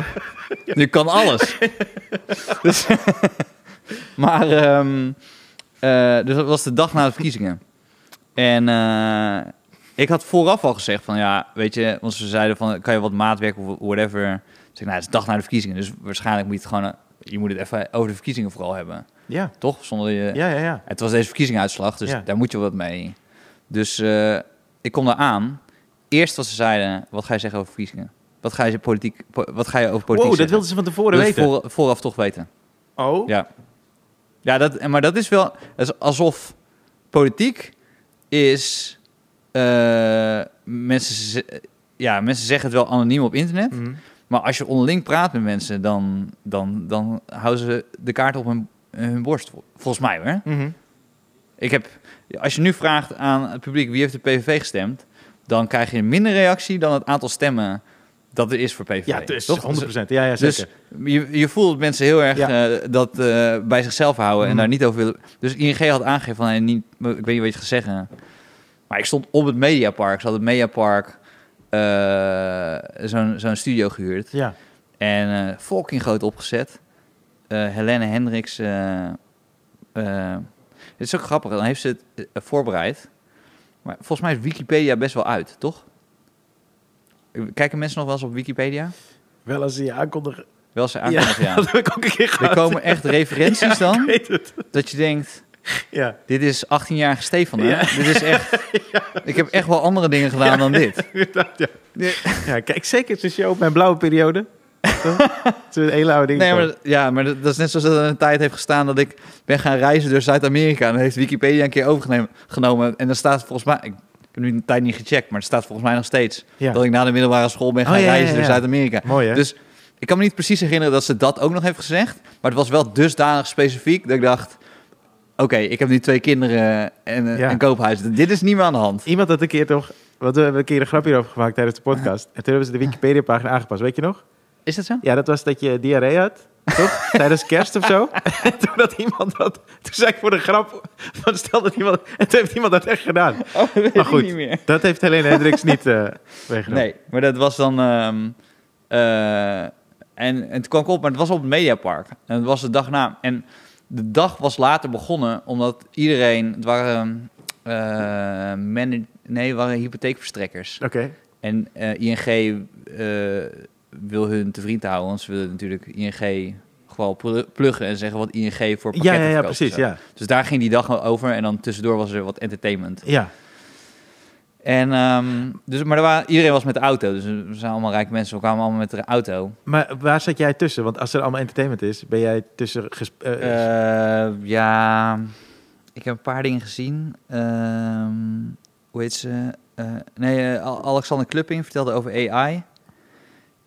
A: nu kan alles. dus, [laughs] maar, ehm, eh, dus dat was de dag na de verkiezingen. En eh, ik had vooraf al gezegd van, ja, weet je, want ze zeiden van, kan je wat maatwerk of whatever. Dus ik, zei, nou, het is de dag na de verkiezingen, dus waarschijnlijk moet je het gewoon, eh, je moet het even over de verkiezingen vooral hebben.
B: Ja,
A: Toch? Zonder je...
B: ja, ja. ja.
A: Het was deze verkiezingsuitslag, dus
B: Ja.
A: daar moet je wat mee. Dus eh, ik kom daar aan. Eerst wat ze zeiden, wat ga je zeggen over verkiezingen? Wat ga je, politiek, po- wat ga je over politiek
B: Wow,
A: zeggen?
B: dat wilden ze van tevoren
A: Dat is
B: weten.
A: voor- vooraf toch weten.
B: Oh,
A: Ja, ja dat, en- maar dat is wel dat is alsof politiek is... eh, mensen, ze- ja, mensen zeggen het wel anoniem op internet.
B: Mhm.
A: Maar als je onderling praat met mensen, dan, dan, dan houden ze de kaart op hun, hun borst. vol- Volgens mij hoor.
B: Mhm.
A: Ik heb, als je nu vraagt aan het publiek wie heeft de PVV gestemd, dan krijg je minder reactie dan het aantal stemmen dat er is voor PVV.
B: Ja, dus
A: toch?
B: 100%. Ja, ja,
A: Dus
B: zeker.
A: je, je voelt dat mensen heel erg
B: Ja.
A: eh, dat eh, bij zichzelf houden en
B: Mhm.
A: daar niet over willen. Dus ING had aangegeven van, nee, niet, ik weet niet wat je gaat zeggen. Maar ik stond op het Mediapark. Ze hadden het Mediapark eh, zo'n zo'n studio gehuurd.
B: ja.
A: En eh, fucking groot opgezet. Eh Helene Hendricks. eh, eh, het is ook grappig, dan heeft ze het eh, voorbereid. Maar volgens mij is Wikipedia best wel uit, toch? Kijken mensen nog wel eens op Wikipedia?
B: Wel als ze je aankondigen.
A: Wel ze aankondigen, ja.
B: [laughs] Dat heb ik ook een keer
A: Er
B: gehad.
A: komen echt referenties
B: [laughs] Ja, ik
A: dan,
B: weet het.
A: dat je denkt,
B: Ja,
A: dit is 18-jarige Stefan, hè?
B: Ja.
A: Dit is
B: [laughs]
A: echt... Ik heb echt wel andere dingen gedaan dan dit.
B: inderdaad, ja. ja. Kijk, zeker tussen je op mijn blauwe
A: [laughs]
B: periode. Zo. Zo'n hele oude ding.
A: Nee, maar, ja, maar dat, dat is net zoals dat er een tijd heeft gestaan dat ik ben gaan reizen door Zuid-Amerika. En dat heeft Wikipedia een keer overgenomen. genomen. En dan staat volgens mij, ik heb nu een tijd niet gecheckt, maar het staat volgens mij nog steeds
B: Ja.
A: dat ik na de middelbare school ben gaan
B: Oh, ja, ja,
A: reizen
B: ja,
A: door
B: ja.
A: Zuid-Amerika.
B: Mooi, hè?
A: Dus ik kan me niet precies herinneren dat ze dat ook nog heeft gezegd. Maar het was wel dusdanig specifiek dat ik dacht, oké, ik heb nu twee kinderen en eh,
B: Ja.
A: een koophuis. Dit is niet meer aan de hand.
B: Iemand had een keer toch... Want we hebben een keer een grapje hierover gemaakt tijdens de podcast. En toen hebben ze de Wikipedia-pagina aangepast. Weet je nog?
A: Is dat zo?
B: Ja, dat was dat je diarree had.
A: [laughs]
B: Toch? Tijdens kerst of zo. En toen had iemand dat... Toen zei ik voor de grap... Van stel dat iemand... En toen heeft iemand dat echt gedaan.
A: Oh, dat weet
B: [laughs] Maar
A: ik
B: goed.
A: [laughs] niet meer.
B: Dat heeft Helene Hendricks
A: [laughs]
B: niet eh weggenomen.
A: Nee, maar dat was dan. ehm, eh, en, en toen kwam ik op, maar het was op het Mediapark. En het was de dag na. En de dag was later begonnen, omdat iedereen. Het waren. eh manag- nee, het waren hypotheekverstrekkers.
B: Oké.
A: En eh, ING eh, wil hun te vriend houden, want ze willen natuurlijk ING gewoon pl- pluggen en zeggen wat ING voor pakketten
B: Ja, ja, ja,
A: verkoopt en
B: precies.
A: zo.
B: Ja.
A: Dus daar ging die dag over en dan tussendoor was er wat entertainment.
B: ja.
A: En, ehm, dus, maar er waren, iedereen was met de auto. Dus we zijn allemaal rijke mensen. We kwamen allemaal met de auto.
B: Maar waar zat jij tussen? Want als er allemaal entertainment is, ben jij tussen... ges- eh,
A: Eh, ja, ik heb een paar dingen gezien. Ehm, hoe heet ze? Eh, nee, eh, Al- Alexander Klupping vertelde over AI.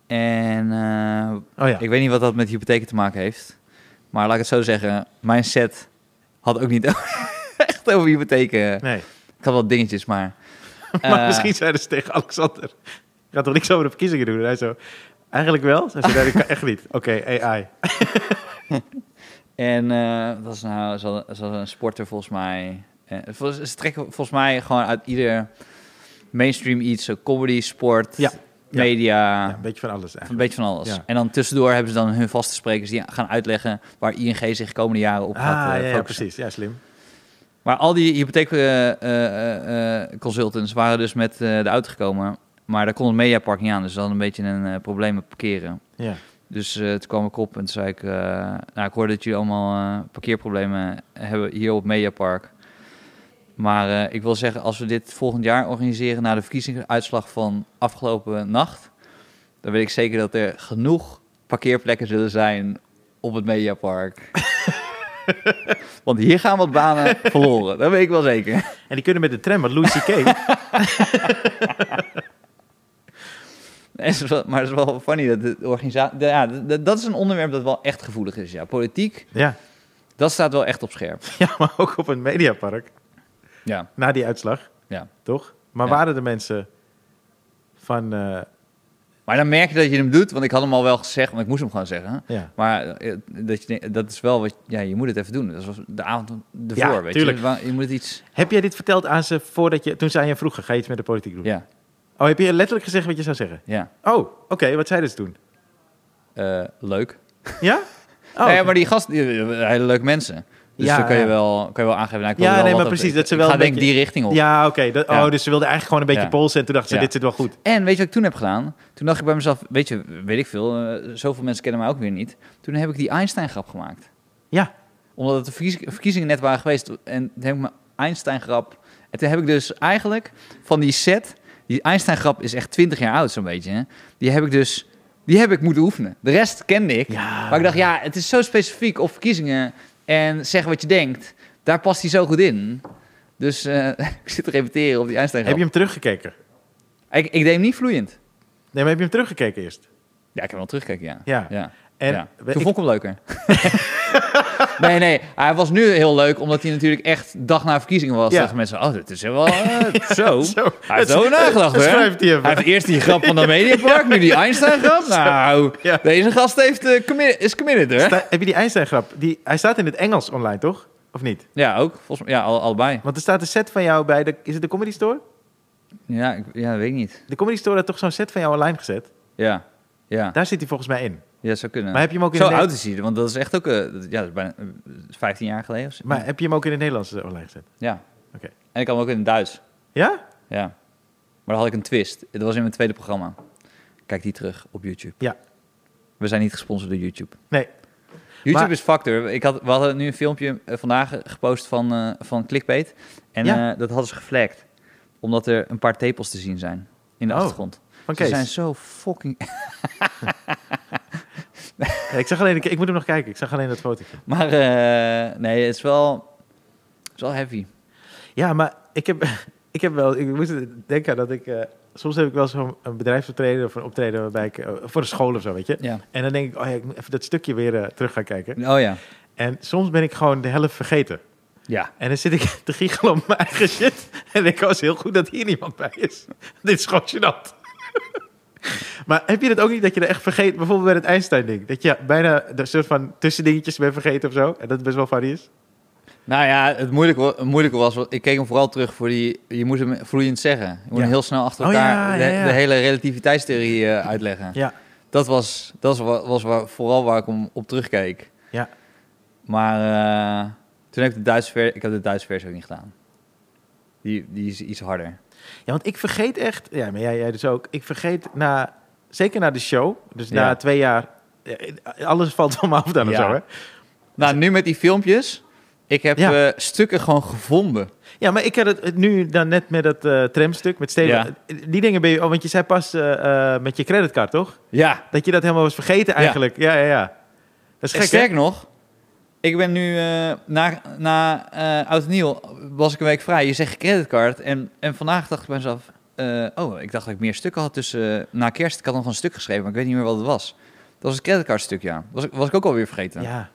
A: En eh,
B: oh ja.
A: ik weet niet wat dat met hypotheken te maken heeft. Maar laat ik het zo zeggen. Mijn set had ook niet [laughs] echt over hypotheken.
B: nee. [laughs]
A: Ik had wel dingetjes, maar...
B: maar
A: Eh,
B: misschien zeiden ze tegen Alexander... Je gaat toch niks over de verkiezingen doen? En hij zo... Eigenlijk wel? Ze zei, nee, dat kan echt
A: [laughs]
B: niet. Oké, AI.
A: En eh dat is nou, ze hadden, ze hadden een sporter volgens mij. eh, volgens- ze trekken volgens mij gewoon uit ieder mainstream iets. zo comedy, sport,
B: Ja. Ja.
A: media,
B: Ja, een beetje van alles eigenlijk.
A: een beetje van alles.
B: Ja.
A: En dan tussendoor hebben ze dan hun vaste sprekers die gaan uitleggen waar ING zich komende jaren op
B: Ah,
A: gaat eh,
B: ja, ja,
A: focussen.
B: precies. Ja, slim.
A: Maar al die eh, hypotheekconsultants eh, consultants waren dus met eh, de auto gekomen. Maar daar kon het mediapark niet aan, dus ze hadden een beetje een eh, probleem met parkeren.
B: Ja.
A: Dus eh, toen kwam ik op en toen zei ik... eh, nou, ik hoorde dat jullie allemaal eh, parkeerproblemen hebben hier op Mediapark. Maar eh, ik wil zeggen, als we dit volgend jaar organiseren... na de verkiezingsuitslag van afgelopen nacht... dan weet ik zeker dat er genoeg parkeerplekken zullen zijn op het Mediapark. Want hier gaan wat banen verloren, dat weet ik wel zeker. [laughs]
B: En die kunnen met de tram, want Louis C.K.
A: En het is wel- Maar het is wel funny dat de organisatie... Ja, dat dat is een onderwerp dat wel echt gevoelig is, ja. Politiek,
B: ja. [laughs]
A: dat staat wel echt op scherp.
B: ja, maar ook op een mediapark.
A: Ja,
B: Na die uitslag,
A: ja.
B: toch? Maar
A: Ja.
B: waren de mensen van... eh,
A: Maar dan merk je dat je hem doet, want ik had hem al wel gezegd, want ik moest hem gewoon zeggen.
B: ja.
A: Maar eh, dat, je, denkt- dat is wel wat, ja, je moet het even doen. Dat was de avond ervoor,
B: Ja,
A: weet
B: tuurlijk.
A: je. Wa- Je moet het iets,
B: Heb jij dit verteld aan ze voordat je... Toen ze aan je vroegen, ga je iets met de politiek doen?
A: ja,
B: Oh, heb je letterlijk gezegd wat je zou zeggen?
A: ja,
B: Oh, oké, wat zeiden ze toen?
A: Eh, leuk.
B: Ja? Oh,
A: Nee, maar die gast, die, eh, hele leuke mensen. Dus
B: Ja,
A: dan kan je,
B: ja.
A: wel, kan je wel aangeven, nou, ik wil
B: Ja,
A: er wel
B: nee,
A: wat
B: maar
A: op-
B: precies, dat ze
A: ik
B: wel
A: ga
B: een
A: denk ik
B: beetje-
A: die richting op.
B: Ja, oké. dat-
A: Ja.
B: Oh, dus ze wilden eigenlijk gewoon een beetje
A: Ja.
B: polsen. En toen dachten ze,
A: Ja.
B: dit zit wel goed.
A: En weet je wat ik toen heb gedaan? Toen dacht ik bij mezelf, weet je, weet ik veel, eh, zoveel mensen kennen mij ook weer niet. Toen heb ik die Einstein-grap gemaakt.
B: Ja.
A: Omdat het de verkies- verkiezingen net waren geweest en toen heb ik mijn Einstein-grap... En toen heb ik dus eigenlijk van die set, die Einstein-grap is echt 20 jaar oud zo'n beetje, hè? die heb ik dus, die heb ik moeten oefenen. De rest kende ik,
B: Ja.
A: maar ik dacht, ja, het is zo specifiek op verkiezingen en zeg wat je denkt. Daar past hij zo goed in. Dus eh, [laughs] ik zit te repeteren op die
B: Heb
A: Einstein-grap.
B: je hem teruggekeken?
A: Ik, ik deed hem niet vloeiend.
B: Nee, maar heb je hem teruggekeken eerst?
A: Ja, ik heb hem wel teruggekeken, ja.
B: Ja.
A: ja.
B: En
A: ja.
B: we-
A: Toen vond
B: ik-
A: ik hem leuker. [laughs] nee, nee. Hij was nu heel leuk, omdat hij natuurlijk echt dag na verkiezingen was.
B: Ja.
A: Ja. Dachten mensen, oh, dit is wel
B: [laughs]
A: eh, zo.
B: zo.
A: Hij heeft zo nagedacht,
B: Dat
A: hè?
B: schrijft hij even.
A: Hij heeft eerst die grap
B: [laughs]
A: van de Mediapark, nu die Einstein-grap. Nou,
B: Ja.
A: deze gast heeft, eh, commi- is committed, hè?
B: Sta- heb je die Einstein-grap? Die, hij staat in het Engels online, toch? Of niet?
A: Ja, ook. Volgens mij, ja, al, allebei.
B: Want er staat een set van jou bij de... Is het de Comedy Store?
A: Ja, ik, ja, weet ik niet.
B: De Comedy Store had toch zo'n set van jou online gezet?
A: Ja, ja.
B: Daar zit hij volgens mij in.
A: Ja, zou kunnen.
B: Maar heb je hem ook in e-
A: Zo
B: het ne-
A: oud is hij, want dat is echt ook... eh, dat- ja, dat is bijna eh, 15 jaar geleden. of zo.
B: Maar heb je hem ook in het Nederlands eh, online gezet?
A: Ja.
B: Oké.
A: En ik kan hem ook in het Duits.
B: Ja?
A: Ja. Maar dan had ik een twist. Dat was in mijn tweede programma. Kijk die terug op YouTube.
B: Ja.
A: We zijn niet gesponsord door YouTube.
B: Nee.
A: YouTube
B: Maar-
A: is factor. Ik had, we hadden nu een filmpje eh, vandaag gepost van, eh, van Clickbait. En
B: Ja.
A: eh, dat hadden ze geflagd. Omdat er een paar tepels te zien zijn in de
B: Oh,
A: achtergrond.
B: Van
A: Ze
B: Kees.
A: zijn zo fucking... [laughs]
B: Ja, ik zag alleen... Ik, ik moet hem nog kijken. Ik zag alleen dat fotootje.
A: Maar eh, nee, het is wel, het is wel heavy.
B: Ja, maar ik heb, [laughs] ik heb wel... Ik moest denken aan dat ik... eh, soms heb ik wel zo'n een bedrijfsoptreden of een optreden waarbij ik... eh, voor de school of zo, weet je?
A: Ja.
B: En dan denk ik, oh ja, ik moet even dat stukje weer eh, terug gaan kijken.
A: Oh ja.
B: En soms ben ik gewoon de helft vergeten.
A: Ja.
B: En dan zit ik [laughs] te giechelen om mijn eigen shit. En denk ik, oh, is heel goed dat hier niemand bij is. [laughs] Dit is gewoon gênant. [laughs] Maar heb je dat ook niet dat je er echt vergeet, bijvoorbeeld bij het Einstein-ding, dat je bijna een soort van tussendingetjes bent vergeten of zo? En dat het best wel funny is?
A: Nou ja, het moeilijke, wa- het moeilijke was, want ik keek hem vooral terug voor die, je moest hem vloeiend zeggen. Je moet
B: Ja.
A: hem heel snel achter
B: Oh,
A: elkaar
B: ja, ja, ja.
A: De, de hele relativiteitstheorie eh, uitleggen.
B: Ja.
A: Dat was, dat was, wa- was wa- vooral waar ik om op terugkeek.
B: Ja.
A: Maar eh, toen heb ik de Duitse versie, ik heb de Duitse versie ook niet gedaan. Die, die is iets harder.
B: Ja, want ik vergeet echt, ja, maar jij, jij dus ook, ik vergeet na, zeker na de show, dus
A: Ja.
B: na twee jaar, ja, alles valt van me af dan of
A: Ja.
B: zo, hè?
A: Nou, nu met die filmpjes, ik heb
B: Ja.
A: eh, stukken gewoon gevonden.
B: Ja, maar ik had het het nu dan net met dat eh, tramstuk met Steven.
A: Ja.
B: Die dingen ben je, oh, want je zei pas eh, eh, met je creditcard, toch?
A: Ja,
B: Dat je dat helemaal was vergeten eigenlijk. Ja, ja, ja. Dat is
A: En
B: gek, hè?
A: Sterk nog, ik ben nu eh, na, na eh Oud en Nieuw was ik een week vrij. Je zegt creditcard. En, en vandaag dacht ik bij mezelf, eh, oh, ik dacht dat ik meer stukken had tussen na kerst. Ik had nog een stuk geschreven, maar ik weet niet meer wat het was. Dat was het creditcardstuk, ja. Was, ik- was ik ook alweer vergeten.
B: Ja.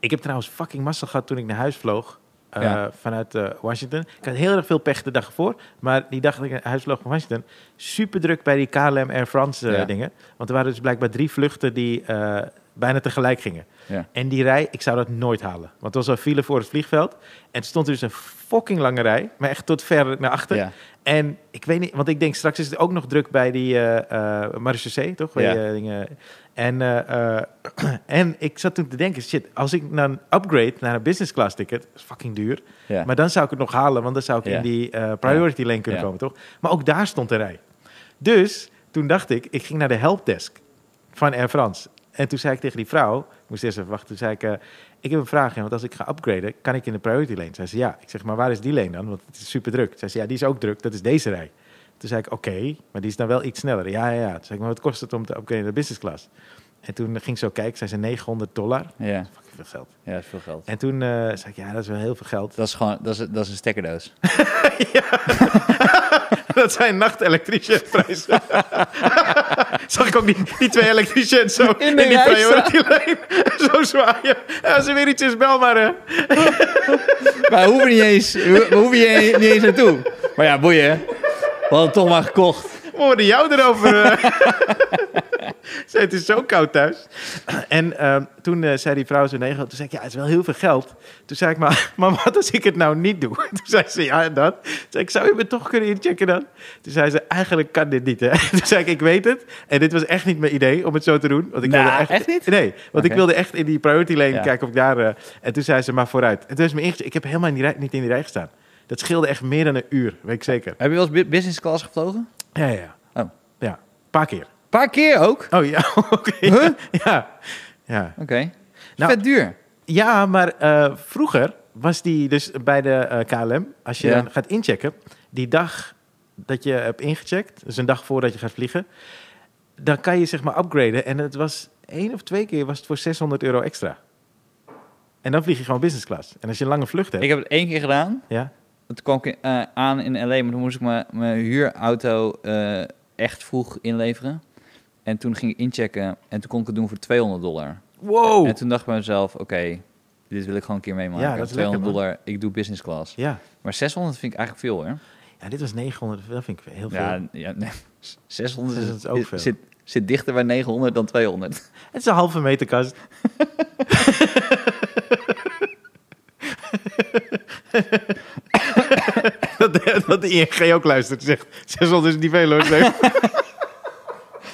B: Ik heb trouwens fucking massa gehad toen ik naar huis vloog. eh,
A: Ja.
B: vanuit eh, Washington. Ik had heel erg veel pech de dag ervoor. Maar die dag dat ik huisvloog van Washington, super druk bij die KLM Air France eh,
A: Ja.
B: dingen. Want er waren dus blijkbaar drie vluchten die eh, bijna tegelijk gingen.
A: Ja.
B: En die rij, ik zou dat nooit halen. Want er was een file voor het vliegveld. En er stond dus een fucking lange rij. Maar echt tot ver naar achter.
A: Ja.
B: En ik weet niet, want ik denk straks is het ook nog druk bij die eh eh, marechaussee, toch? Bij
A: Ja.
B: die, eh, dingen. En, eh, [clears throat] eh, en ik zat toen te denken, shit, als ik dan upgrade naar een business class ticket, is fucking duur.
A: Ja.
B: Maar dan zou ik het nog halen, want dan zou ik
A: Ja.
B: in die eh, priority lane kunnen
A: Ja.
B: komen, toch? Maar ook daar stond een rij. Dus toen dacht ik, ik ging naar de helpdesk van Air France. En toen zei ik tegen die vrouw, ik moest eerst even wachten, toen zei ik, eh, ik heb een vraag, ja, want als ik ga upgraden, kan ik in de priority lane? Zei ze, ja. Ik zeg, maar waar is die lane dan? Want het is super druk. Zei ze, ja, die is ook druk, dat is deze rij. Toen zei ik, oké, maar die is dan wel iets sneller. Ja, ja, ja. Toen zei ik, maar wat kost het om te upgraden naar business class? En toen ging ze ook kijken, zei ze 900 dollar.
A: Ja,
B: Fucking veel geld.
A: ja, dat is veel geld.
B: En toen eh, zei ik, ja, dat is wel heel veel geld.
A: Dat is gewoon, dat is, dat is een stekkerdoos.
B: [laughs] Dat zijn nachtelektriciënprijzen. [laughs] Zag ik ook die, die twee elektriciëns zo
A: In
B: in,
A: de
B: die
A: rij
B: priority lane [laughs] zo zwaaien. Ja, als er weer iets is, bel maar. hè.
A: Maar we hoeven niet eens, we we hoeven hier niet eens naartoe. Maar ja, boeien. hè. We hadden het toch maar gekocht.
B: We hoorden jou erover. eh.
A: [laughs]
B: Zei, het is zo koud thuis. En ehm, toen eh, zei die vrouw zo negen. Toen zei ik, ja, het is wel heel veel geld. Toen zei ik, maar, maar wat als ik het nou niet doe? [laughs] Toen zei ze, ja, en dat. Toen zei ik, zou je me toch kunnen inchecken dan? Toen zei ze, eigenlijk kan dit niet, hè? [laughs] Toen zei ik, ik weet het. En dit was echt niet mijn idee om het zo te doen. Want ik
A: Nou,
B: wilde echt,
A: echt niet?
B: Nee, want ik
A: Oké.
B: wilde echt in die priority lane
A: Ja.
B: kijken of ik daar... eh, en toen zei ze, maar vooruit. En toen is me ingecheck. Ik heb helemaal in die rij- niet in die rij gestaan. Dat scheelde echt meer dan een uur, weet ik zeker.
A: Heb je wel eens bu- business class gevlogen?
B: Ja, ja, ja.
A: Oh.
B: Ja, een paar keer.
A: Een paar keer ook.
B: Oh ja, [laughs] oké.
A: Huh?
B: Ja. Ja.
A: Oké.
B: Nou-
A: Vet duur.
B: ja, maar eh, vroeger was die dus bij de eh, KLM, als je
A: Ja.
B: dan gaat inchecken, die dag dat je hebt ingecheckt, dus een dag voordat je gaat vliegen, dan kan je zeg maar upgraden. En het was één of twee keer was het voor 600 euro extra. En dan vlieg je gewoon business class. En als je een lange vlucht hebt,
A: Ik heb het één keer gedaan.
B: ja,
A: Toen kwam ik eh, aan in LA, maar toen moest ik mijn, mijn huurauto eh, echt vroeg inleveren. En toen ging ik inchecken en toen kon ik het doen voor 200 dollar.
B: wow,
A: En toen dacht ik bij mezelf, oké, dit wil ik gewoon een keer meemaken.
B: Ja, dat is
A: 200
B: lekker, man.
A: dollar, ik doe business class.
B: ja.
A: Maar 600 vind ik eigenlijk veel, hè?
B: ja, dit was 900, dat vind ik heel veel. Dus
A: Ja, ja nee, [laughs] 600 is,
B: Dat is ook
A: is-
B: veel.
A: Zit, zit dichter bij 900 dan 200.
B: Het is een halve meter kast. dat, dat de ING ook luistert. Zegt, 600 is niet veel hoor. [laughs] Zeg.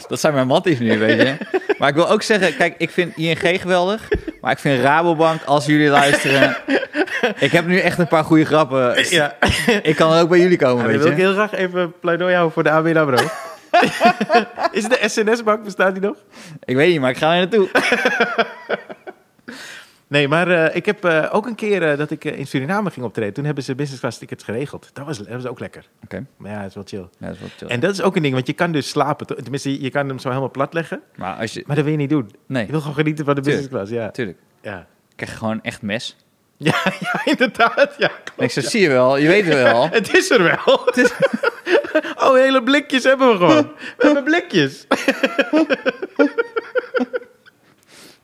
A: Dat zijn mijn matties nu, weet je. Maar ik wil ook zeggen, kijk, ik vind ING geweldig. Maar ik vind Rabobank, als jullie luisteren... Ik heb nu echt een paar goede grappen.
B: Ja.
A: Ik kan er ook bij jullie komen,
B: Dan
A: weet
B: wil ik
A: je.
B: heel graag even pleidooi houden voor de ABN [laughs] AMRO. is de SNS-bank, bestaat die nog?
A: Ik weet niet, maar ik ga er naartoe.
B: Nee, maar eh, ik heb eh, ook een keer eh, dat ik eh, in Suriname ging optreden. Toen hebben ze business class tickets geregeld. Dat was, dat was ook lekker.
A: Oké.
B: Maar ja, het is wel chill.
A: Ja, dat is wel chill.
B: En dat is ook een ding, want je kan dus slapen. toch? Tenminste, je kan hem zo helemaal plat leggen.
A: Maar als je...
B: Maar dat wil je niet doen.
A: Nee,
B: Je wil gewoon genieten van de business
A: Tuurlijk.
B: class, ja.
A: natuurlijk.
B: Ja,
A: Ik krijg gewoon echt mes.
B: ja, [laughs] ja inderdaad. Ja, klopt.
A: En ik zeg, zie je wel, je weet het wel.
B: Het is er wel. [laughs] Oh, hele blikjes hebben we [laughs] gewoon. We hebben blikjes.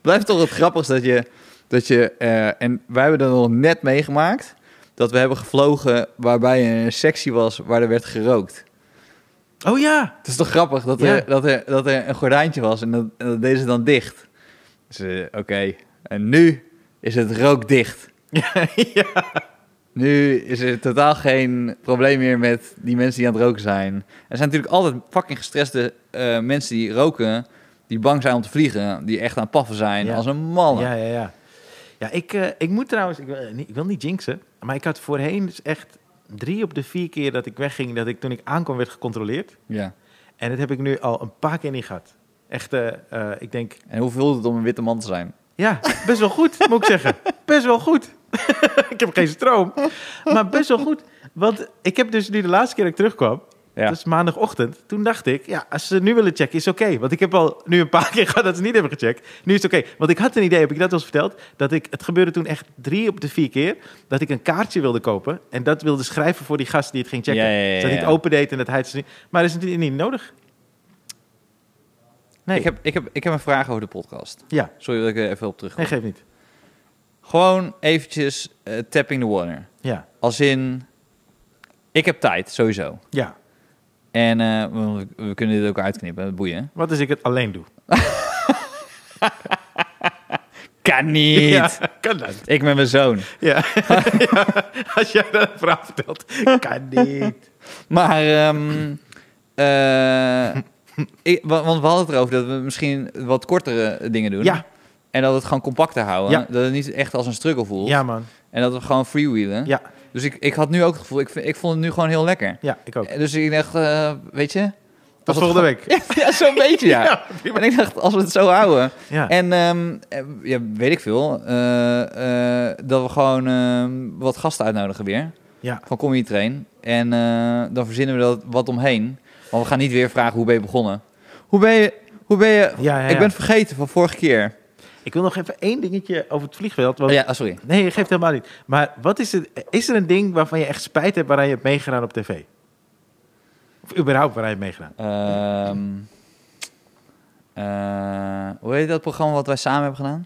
A: blijft toch het grappigste dat je... Dat je eh, en wij hebben dat nog net meegemaakt. Dat we hebben gevlogen waarbij een sectie was waar er werd gerookt.
B: Oh ja.
A: Het is toch grappig dat er,
B: Ja.
A: dat er, dat er een gordijntje was en dat, en dat deden ze dan dicht. Dus eh, oké, en nu is het rookdicht.
B: Ja, [laughs] ja.
A: Nu is er totaal geen probleem meer met die mensen die aan het roken zijn. Er zijn natuurlijk altijd fucking gestreste eh, mensen die roken, die bang zijn om te vliegen, die echt aan het paffen zijn
B: Ja.
A: als een malle.
B: Ja, ja, ja. Ja, ik, eh, ik moet trouwens, ik wil, eh, niet, ik wil niet jinxen, maar ik had voorheen dus echt drie op de vier keer dat ik wegging, dat ik toen ik aankwam werd gecontroleerd.
A: Ja.
B: En dat heb ik nu al een paar keer niet gehad. Echt, eh, eh, ik denk,
A: En hoe voelt het om een witte man te zijn?
B: Ja, best wel goed, moet ik zeggen. Best wel goed. [laughs] ik heb geen stroom. Maar best wel goed. Want ik heb dus nu de laatste keer dat ik terugkwam,
A: Ja.
B: dat is maandagochtend, toen dacht ik, ja, als ze nu willen checken, is oké. Want ik heb al nu een paar [laughs] keer gehad dat ze niet hebben gecheckt. Nu is het oké. Want ik had een idee, heb ik dat al eens verteld, dat ik, het gebeurde toen echt drie op de vier keer, dat ik een kaartje wilde kopen en dat wilde schrijven voor die gast die het ging checken.
A: Ja, ja, ja,
B: Zodat hij
A: ja.
B: het opendeed en dat hij het niet... Maar dat is natuurlijk niet nodig. Nee,
A: Ik, heb, ik, heb, ik heb een vraag over de podcast.
B: ja,
A: Sorry dat ik er even op terug.
B: nee, geeft niet.
A: Gewoon eventjes eh, tapping the water.
B: Ja.
A: Als in, ik heb tijd, sowieso.
B: Ja.
A: En eh, we, we kunnen dit ook uitknippen, boeien.
B: Wat als ik het alleen doe?
A: Kan niet!
B: [laughs] Ja, kan dat.
A: Ik met mijn zoon.
B: Ja. Ja, Als jij dat verhaal vertelt, kan niet.
A: Maar, ehm, eh, [laughs] ik- wa- want we hadden het erover dat we misschien wat kortere dingen doen.
B: Ja.
A: En dat we het gewoon compacter houden.
B: Ja.
A: Dat het niet echt als een struggle voelt.
B: Ja, man.
A: En dat we gewoon freewheelen.
B: Ja.
A: Dus ik, ik had nu ook het gevoel, ik, vind- ik vond het nu gewoon heel lekker.
B: Ja, ik ook.
A: Eh, Dus ik dacht, eh, weet je...
B: Tot
A: als het
B: volgende week.
A: gewoon- [laughs] Ja, zo'n beetje,
B: [laughs]
A: ja.
B: prima.
A: En ik dacht, als we het zo houden...
B: Ja.
A: En ehm, eh, ja, weet ik veel, eh, eh, dat we gewoon ehm, wat gasten uitnodigen weer.
B: Ja.
A: Van Comedy Train. En eh, dan verzinnen we dat wat omheen. Want we gaan niet weer vragen hoe ben je begonnen. Hoe ben je... Hoe ben je
B: Ja, ja,
A: Ik
B: ja.
A: ben het vergeten van vorige keer.
B: Ik wil nog even één dingetje over het vliegveld. Want...
A: Oh, ja, oh, sorry.
B: Nee, je geeft helemaal niet. Maar wat is, het, is er een ding waarvan je echt spijt hebt waaraan je hebt meegedaan op tv? Of überhaupt waaraan je hebt meegedaan?
A: Ehm, eh, hoe heet dat programma wat wij samen hebben gedaan?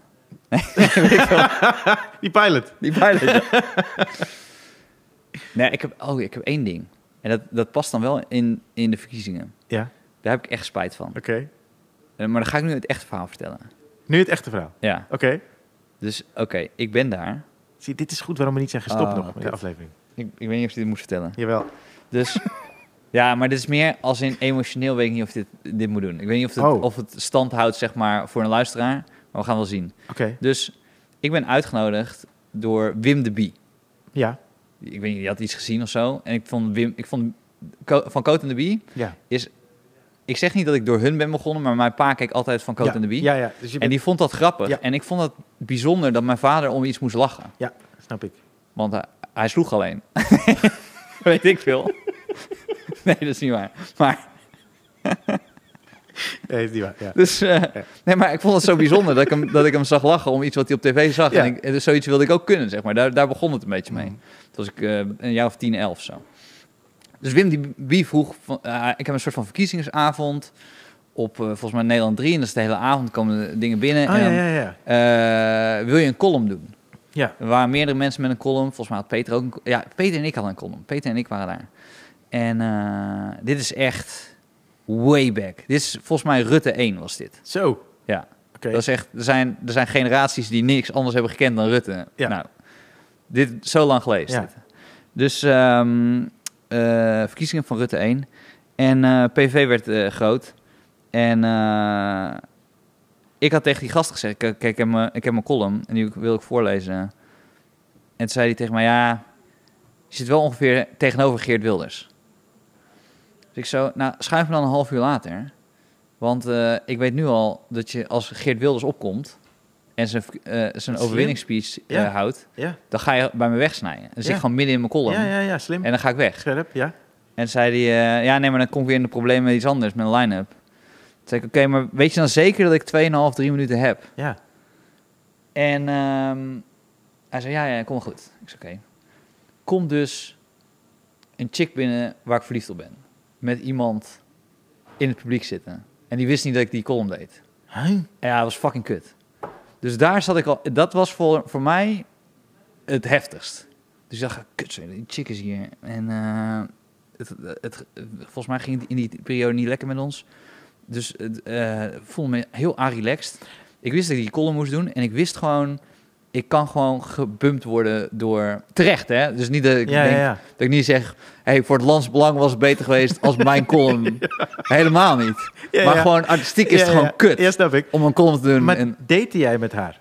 B: Die pilot.
A: Die pilot. [laughs] ja. nee, ik heb, oh, ik heb één ding. En dat, dat past dan wel in, in de verkiezingen.
B: Ja,
A: Daar heb ik echt spijt van.
B: oké.
A: Eh, Maar dan ga ik nu het echte verhaal vertellen.
B: Nu het echte verhaal.
A: Ja.
B: Oké.
A: Dus oké, ik ben daar.
B: Zie, dit is goed waarom we niet zijn gestopt
A: Ah,
B: nog met de
A: kut.
B: aflevering.
A: Ik, ik weet niet of ik dit moet vertellen.
B: Jawel. [laughs]
A: Dus ja, maar dit is meer als in emotioneel weet ik niet of ik dit, dit moet doen. Ik weet niet of het,
B: Oh.
A: of het stand houdt, zeg maar, voor een luisteraar. Maar we gaan wel zien.
B: Oké.
A: Dus ik ben uitgenodigd door Wim de Bie.
B: Ja.
A: Ik weet niet, die had iets gezien of zo. En ik vond Wim, ik vond Co- van Coat en de Bie.
B: Ja.
A: Ik zeg niet dat ik door hun ben begonnen, maar mijn pa keek altijd van Coat
B: ja.
A: en de Bie.
B: Ja, ja. Dus je
A: En
B: bent...
A: die vond dat grappig.
B: Ja.
A: En ik vond dat bijzonder dat mijn vader om iets moest lachen.
B: Ja, snap ik.
A: Want hij, hij sloeg alleen. [laughs] Weet ik
B: [laughs]
A: veel. nee, dat is niet waar. Maar,
B: Nee, is niet waar. Ja.
A: dus, eh, nee, maar ik vond het zo bijzonder dat ik, hem, dat ik hem zag lachen om iets wat hij op tv zag.
B: Ja. Mm.
A: En ik, dus zoiets wilde ik ook kunnen, zeg maar. Daar, daar begon het een beetje mee. Toen was ik eh, een jaar of tien, elf zo. Dus Wim die Bie vroeg, van, eh, ik heb een soort van verkiezingsavond op eh, volgens mij Nederland 3. En dat is de hele avond, komen de dingen binnen.
B: Ah,
A: en
B: ja,
A: dan,
B: ja, ja.
A: eh, wil je een column doen?
B: Ja.
A: Er waren meerdere mensen met een column. Volgens mij had Peter ook een co- Ja, Peter en ik hadden een column. Peter en ik waren daar. En eh, dit is echt way back. Dit is volgens mij Rutte 1 was dit.
B: Zo.
A: Ja.
B: Oké.
A: Dat is echt, er, zijn, er zijn generaties die niks anders hebben gekend dan Rutte.
B: Ja.
A: Nou, dit is zo lang geweest.
B: Ja.
A: dit. Dus ehm, eh, verkiezingen van Rutte 1. En eh, PV werd eh, groot. En eh, ik had tegen die gast gezegd, kijk, kijk, ik, heb mijn, ik heb mijn column en die wil ik voorlezen. En toen zei hij tegen mij, ja, je zit wel ongeveer tegenover Geert Wilders. Dus ik zo, nou, schuif me dan een half uur later. Want eh, ik weet nu al dat je als Geert Wilders opkomt en zijn, eh, zijn
B: je?
A: overwinningsspeech eh,
B: Ja.
A: houdt,
B: Ja.
A: dan ga je bij me wegsnijden. Dan zit
B: Ja.
A: ik gewoon midden in mijn column
B: Ja, ja, ja. Slim.
A: en dan ga ik weg.
B: Scherp, ja.
A: En zei hij, eh, ja nee, maar dan kom ik weer in de problemen met iets anders, met een line-up. Toen zei ik, oké, maar weet je dan zeker dat ik 2,5, 3 minuten heb?
B: Ja.
A: En ehm, hij zei, ja, ja, kom maar goed. Ik zei, oké. Komt dus een chick binnen waar ik verliefd op ben. Met iemand in het publiek zitten. En die wist niet dat ik die column deed.
B: Huh?
A: En ja, dat was fucking kut. Dus daar zat ik al... Dat was voor, voor mij het heftigst. Dus ik dacht, kut, zo, die chick is hier. En eh, het, het, volgens mij ging het in die periode niet lekker met ons. Dus het eh, voelde me heel relaxed. Ik wist dat ik die column moest doen. En ik wist gewoon... Ik kan gewoon gebumpt worden door... Terecht, hè? Dus niet dat ik
B: Ja,
A: denk...
B: ja, ja.
A: Dat ik niet zeg, hey, voor het landsbelang was het beter geweest als
B: [laughs]
A: mijn column. Helemaal niet.
B: Ja,
A: maar
B: ja.
A: gewoon artistiek is
B: Ja,
A: het gewoon
B: ja.
A: kut
B: Ja, snap ik.
A: om een column te doen.
B: Maar
A: En
B: date jij met haar?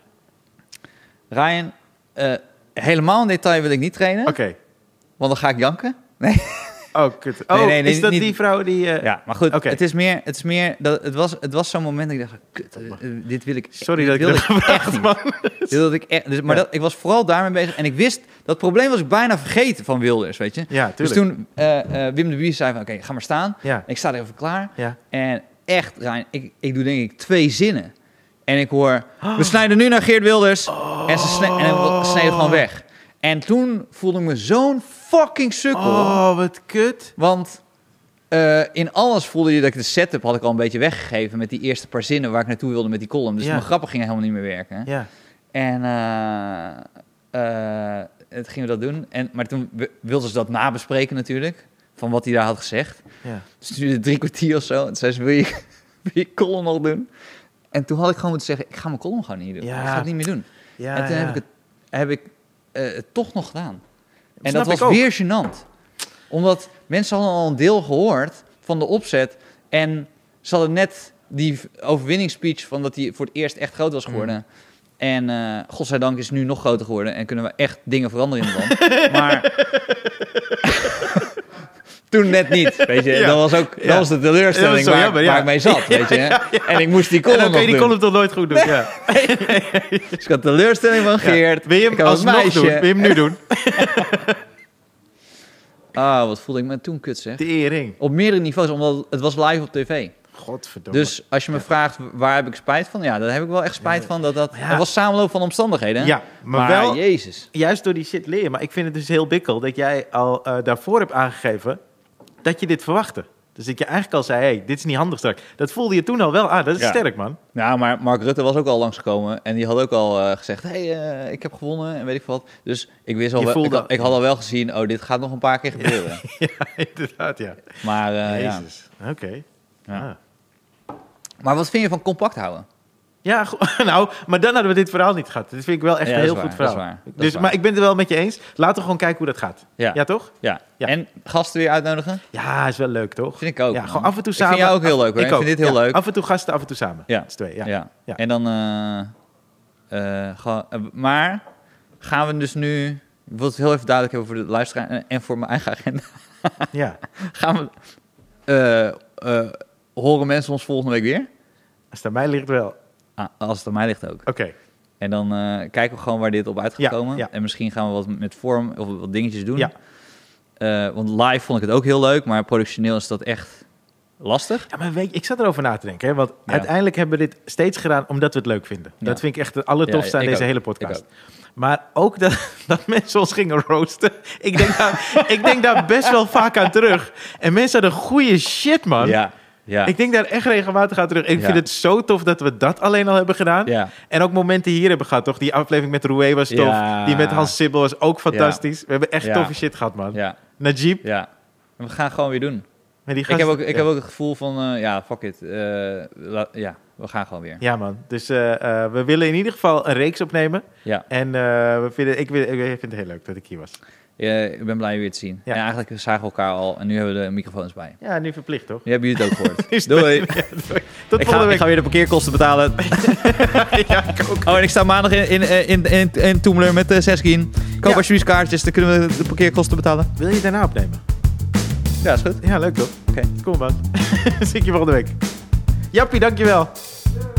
A: Ryan, eh, helemaal in detail wil ik niet trainen,
B: Oké.
A: want dan ga ik janken.
B: Oh, kut. Oh,
A: nee, nee,
B: is dat
A: niet-
B: die vrouw die... eh,
A: Ja, maar goed,
B: Oké.
A: het is meer, het is meer, dat, het was, het was zo'n moment dat ik dacht, kut, eh, eh, dit wil ik,
B: Sorry
A: dit
B: dat ik
A: wilde
B: dat gevraagd,
A: niet.
B: man.
A: Dit wilde ik echt, dus, maar
B: Ja.
A: dat, ik was vooral daarmee bezig en ik wist, dat probleem was ik bijna vergeten van Wilders, weet je.
B: Ja,
A: Dus
B: tuurlijk.
A: toen eh, eh, Wim de Bier zei van, oké, ga maar staan.
B: Ja,
A: Ik sta er even klaar.
B: ja.
A: En echt, Ryan, ik, ik doe denk ik twee zinnen. En ik hoor, we snijden nu naar Geert Wilders. En ze sne- en we sneden gewoon weg. En toen voelde ik me zo'n fucking sukkel.
B: Oh, wat kut.
A: Want eh, in alles voelde je dat ik de setup had ik al een beetje weggegeven... met die eerste paar zinnen waar ik naartoe wilde met die column. Dus
B: Ja.
A: mijn grappen gingen helemaal niet meer werken.
B: Ja,
A: En eh, eh, het gingen we dat doen. En, maar toen wi- wilden ze dat nabespreken natuurlijk, van wat hij daar had gezegd.
B: Ja.
A: Dus het duurde drie kwartier of zo. En toen zei ze, wil je, wil je column nog doen? En toen had ik gewoon moeten zeggen, ik ga mijn column gewoon niet doen.
B: Ja.
A: Ik ga het niet meer doen.
B: Ja,
A: en toen
B: ja.
A: heb ik het, heb ik, eh, het toch nog gedaan. En
B: snap
A: dat
B: ik
A: was
B: ook.
A: weer gênant. Omdat mensen hadden al een deel gehoord van de opzet. En ze hadden net die v- overwinningsspeech van dat hij voor het eerst echt groot
B: Mm.
A: was geworden. En eh godzijdank is het nu nog groter geworden. En kunnen we echt dingen veranderen in het
B: [laughs]
A: land. maar [laughs] toen net niet. Weet je,
B: Ja.
A: dat was ook dat
B: Ja.
A: was de teleurstelling
B: Ja, dat is zo
A: waar,
B: jammer,
A: waar
B: ja.
A: ik mee zat. Weet je, hè? En ik moest die
B: En
A: column
B: dan kan je
A: nog
B: die
A: doen.
B: column toch nooit goed doen. Ja.
A: Dus ik had teleurstelling van Geert.
B: Wil je hem
A: ik had het
B: alsnog
A: meisje.
B: doen? Wil je hem nu doen?
A: Ah, wat voelde ik me toen kut zeg.
B: Tering.
A: Op meerdere niveaus, omdat het was live op tv.
B: Godverdomme.
A: Dus als je me vraagt waar heb ik spijt van, ja, daar heb ik wel echt spijt van. Dat, dat,
B: Ja.
A: dat was samenloop van omstandigheden. hè?
B: ja, maar,
A: maar
B: wel
A: Jezus.
B: juist door die shit leren. Maar ik vind het dus heel bikkel dat jij al eh, daarvoor hebt aangegeven dat je dit verwachtte. Dus dat je eigenlijk al zei, hey, dit is niet handig straks. Dat voelde je toen al wel aan. Dat is
A: Ja.
B: sterk, man. [laughs]
A: Nou, maar Mark Rutte was ook al langsgekomen en die had ook al eh, gezegd: hé, hey, eh, ik heb gewonnen en weet ik wat. Dus ik wist al
B: Je
A: wel,
B: voelde-
A: ik, had, ik had al wel gezien: oh, dit gaat nog een paar keer
B: [laughs]
A: gebeuren.
B: ja, inderdaad, ja.
A: Maar, eh, ja.
B: Jezus. Oké.
A: Ja.
B: Ah.
A: maar wat vind je van compact houden?
B: Ja, go- [laughs] nou, maar dan hadden we dit verhaal niet gehad. Dit vind ik wel echt
A: Ja,
B: een
A: dat
B: heel
A: is
B: goed
A: waar, dat
B: verhaal.
A: is waar, dat is
B: dus,
A: waar.
B: maar ik ben het er wel met je eens. Laten we gewoon kijken hoe dat gaat.
A: Ja.
B: Ja, toch?
A: Ja.
B: Ja.
A: En gasten weer uitnodigen?
B: Ja, is wel leuk, toch?
A: Vind ik ook.
B: ja,
A: man.
B: gewoon af en toe
A: Ik
B: samen.
A: vind jou ook heel leuk hoor. Ik,
B: ook.
A: vind dit heel
B: Ja,
A: leuk.
B: Af en toe gasten, af en toe samen.
A: Ja.
B: Dat is twee, ja.
A: Ja.
B: Ja.
A: En dan... eh, eh, gewoon- eh, maar gaan we dus nu... Ik wil het heel even duidelijk hebben voor de luisteraar en- en voor mijn eigen agenda. [laughs]
B: Ja.
A: Gaan we... eh, eh, horen mensen ons volgende week weer?
B: Als het aan mij ligt wel. Oké.
A: Ah, als het aan mij ligt ook. En dan eh, kijken we gewoon waar dit op uit gaat
B: Ja,
A: komen.
B: ja.
A: En misschien gaan we wat met vorm of wat dingetjes doen.
B: Ja.
A: Eh, want live vond ik het ook heel leuk, maar productioneel is dat echt lastig.
B: Ja, maar weet je, ik zat erover na te denken. Hè, want
A: Ja.
B: uiteindelijk hebben we dit steeds gedaan omdat we het leuk vinden.
A: Ja.
B: Dat vind ik echt het allertofste
A: Ja,
B: aan
A: ik
B: deze
A: ook.
B: hele podcast. Maar ook dat, [laughs] dat mensen ons gingen roosten. Ik denk, daar, ik denk daar best wel vaak aan terug. En mensen hadden goede shit, man.
A: Ja, ja.
B: Ik denk daar echt regelmatig aan terug. Ik
A: Ja.
B: vind het zo tof dat we dat alleen al hebben gedaan.
A: ja.
B: En ook momenten hier hebben gehad, toch? Die aflevering met Roué was tof.
A: Ja.
B: Die met Hans Sibbel was ook fantastisch. We hebben echt
A: Ja.
B: toffe shit gehad, man.
A: ja.
B: Najib,
A: Ja, En we gaan het gewoon weer doen.
B: met die
A: Ik
B: gast.
A: heb ook, ik
B: ja.
A: heb ook het gevoel van, eh, ja, fuck it. Eh, la- ja, we gaan gewoon weer.
B: Ja, man. Dus eh, eh, we willen in ieder geval een reeks opnemen.
A: Ja,
B: En eh, we vinden, ik, wil- ik vind het heel leuk dat ik hier was.
A: Eh, ik ben blij je weer te zien.
B: Ja.
A: En eigenlijk zagen we elkaar al en nu hebben we de microfoons bij.
B: Ja, nu verplicht, toch?
A: Nu hebben jullie het ook gehoord.
B: [laughs] Is het-
A: Doei.
B: Ja, doei. Tot
A: Ik ga,
B: volgende
A: ik ga weer de parkeerkosten betalen.
B: week. ja, ik ook.
A: Oh, en ik sta maandag in, in, eh, in, in, in Toemler met eh Seskin. Koop
B: Ja.
A: alsjeblieft kaartjes, dan kunnen we de parkeerkosten betalen.
B: Wil je daarna opnemen?
A: Ja, is goed.
B: Ja, leuk toch? [laughs]
A: Oké.
B: Kom, man. Zie ik je volgende week. Jappie, dankjewel.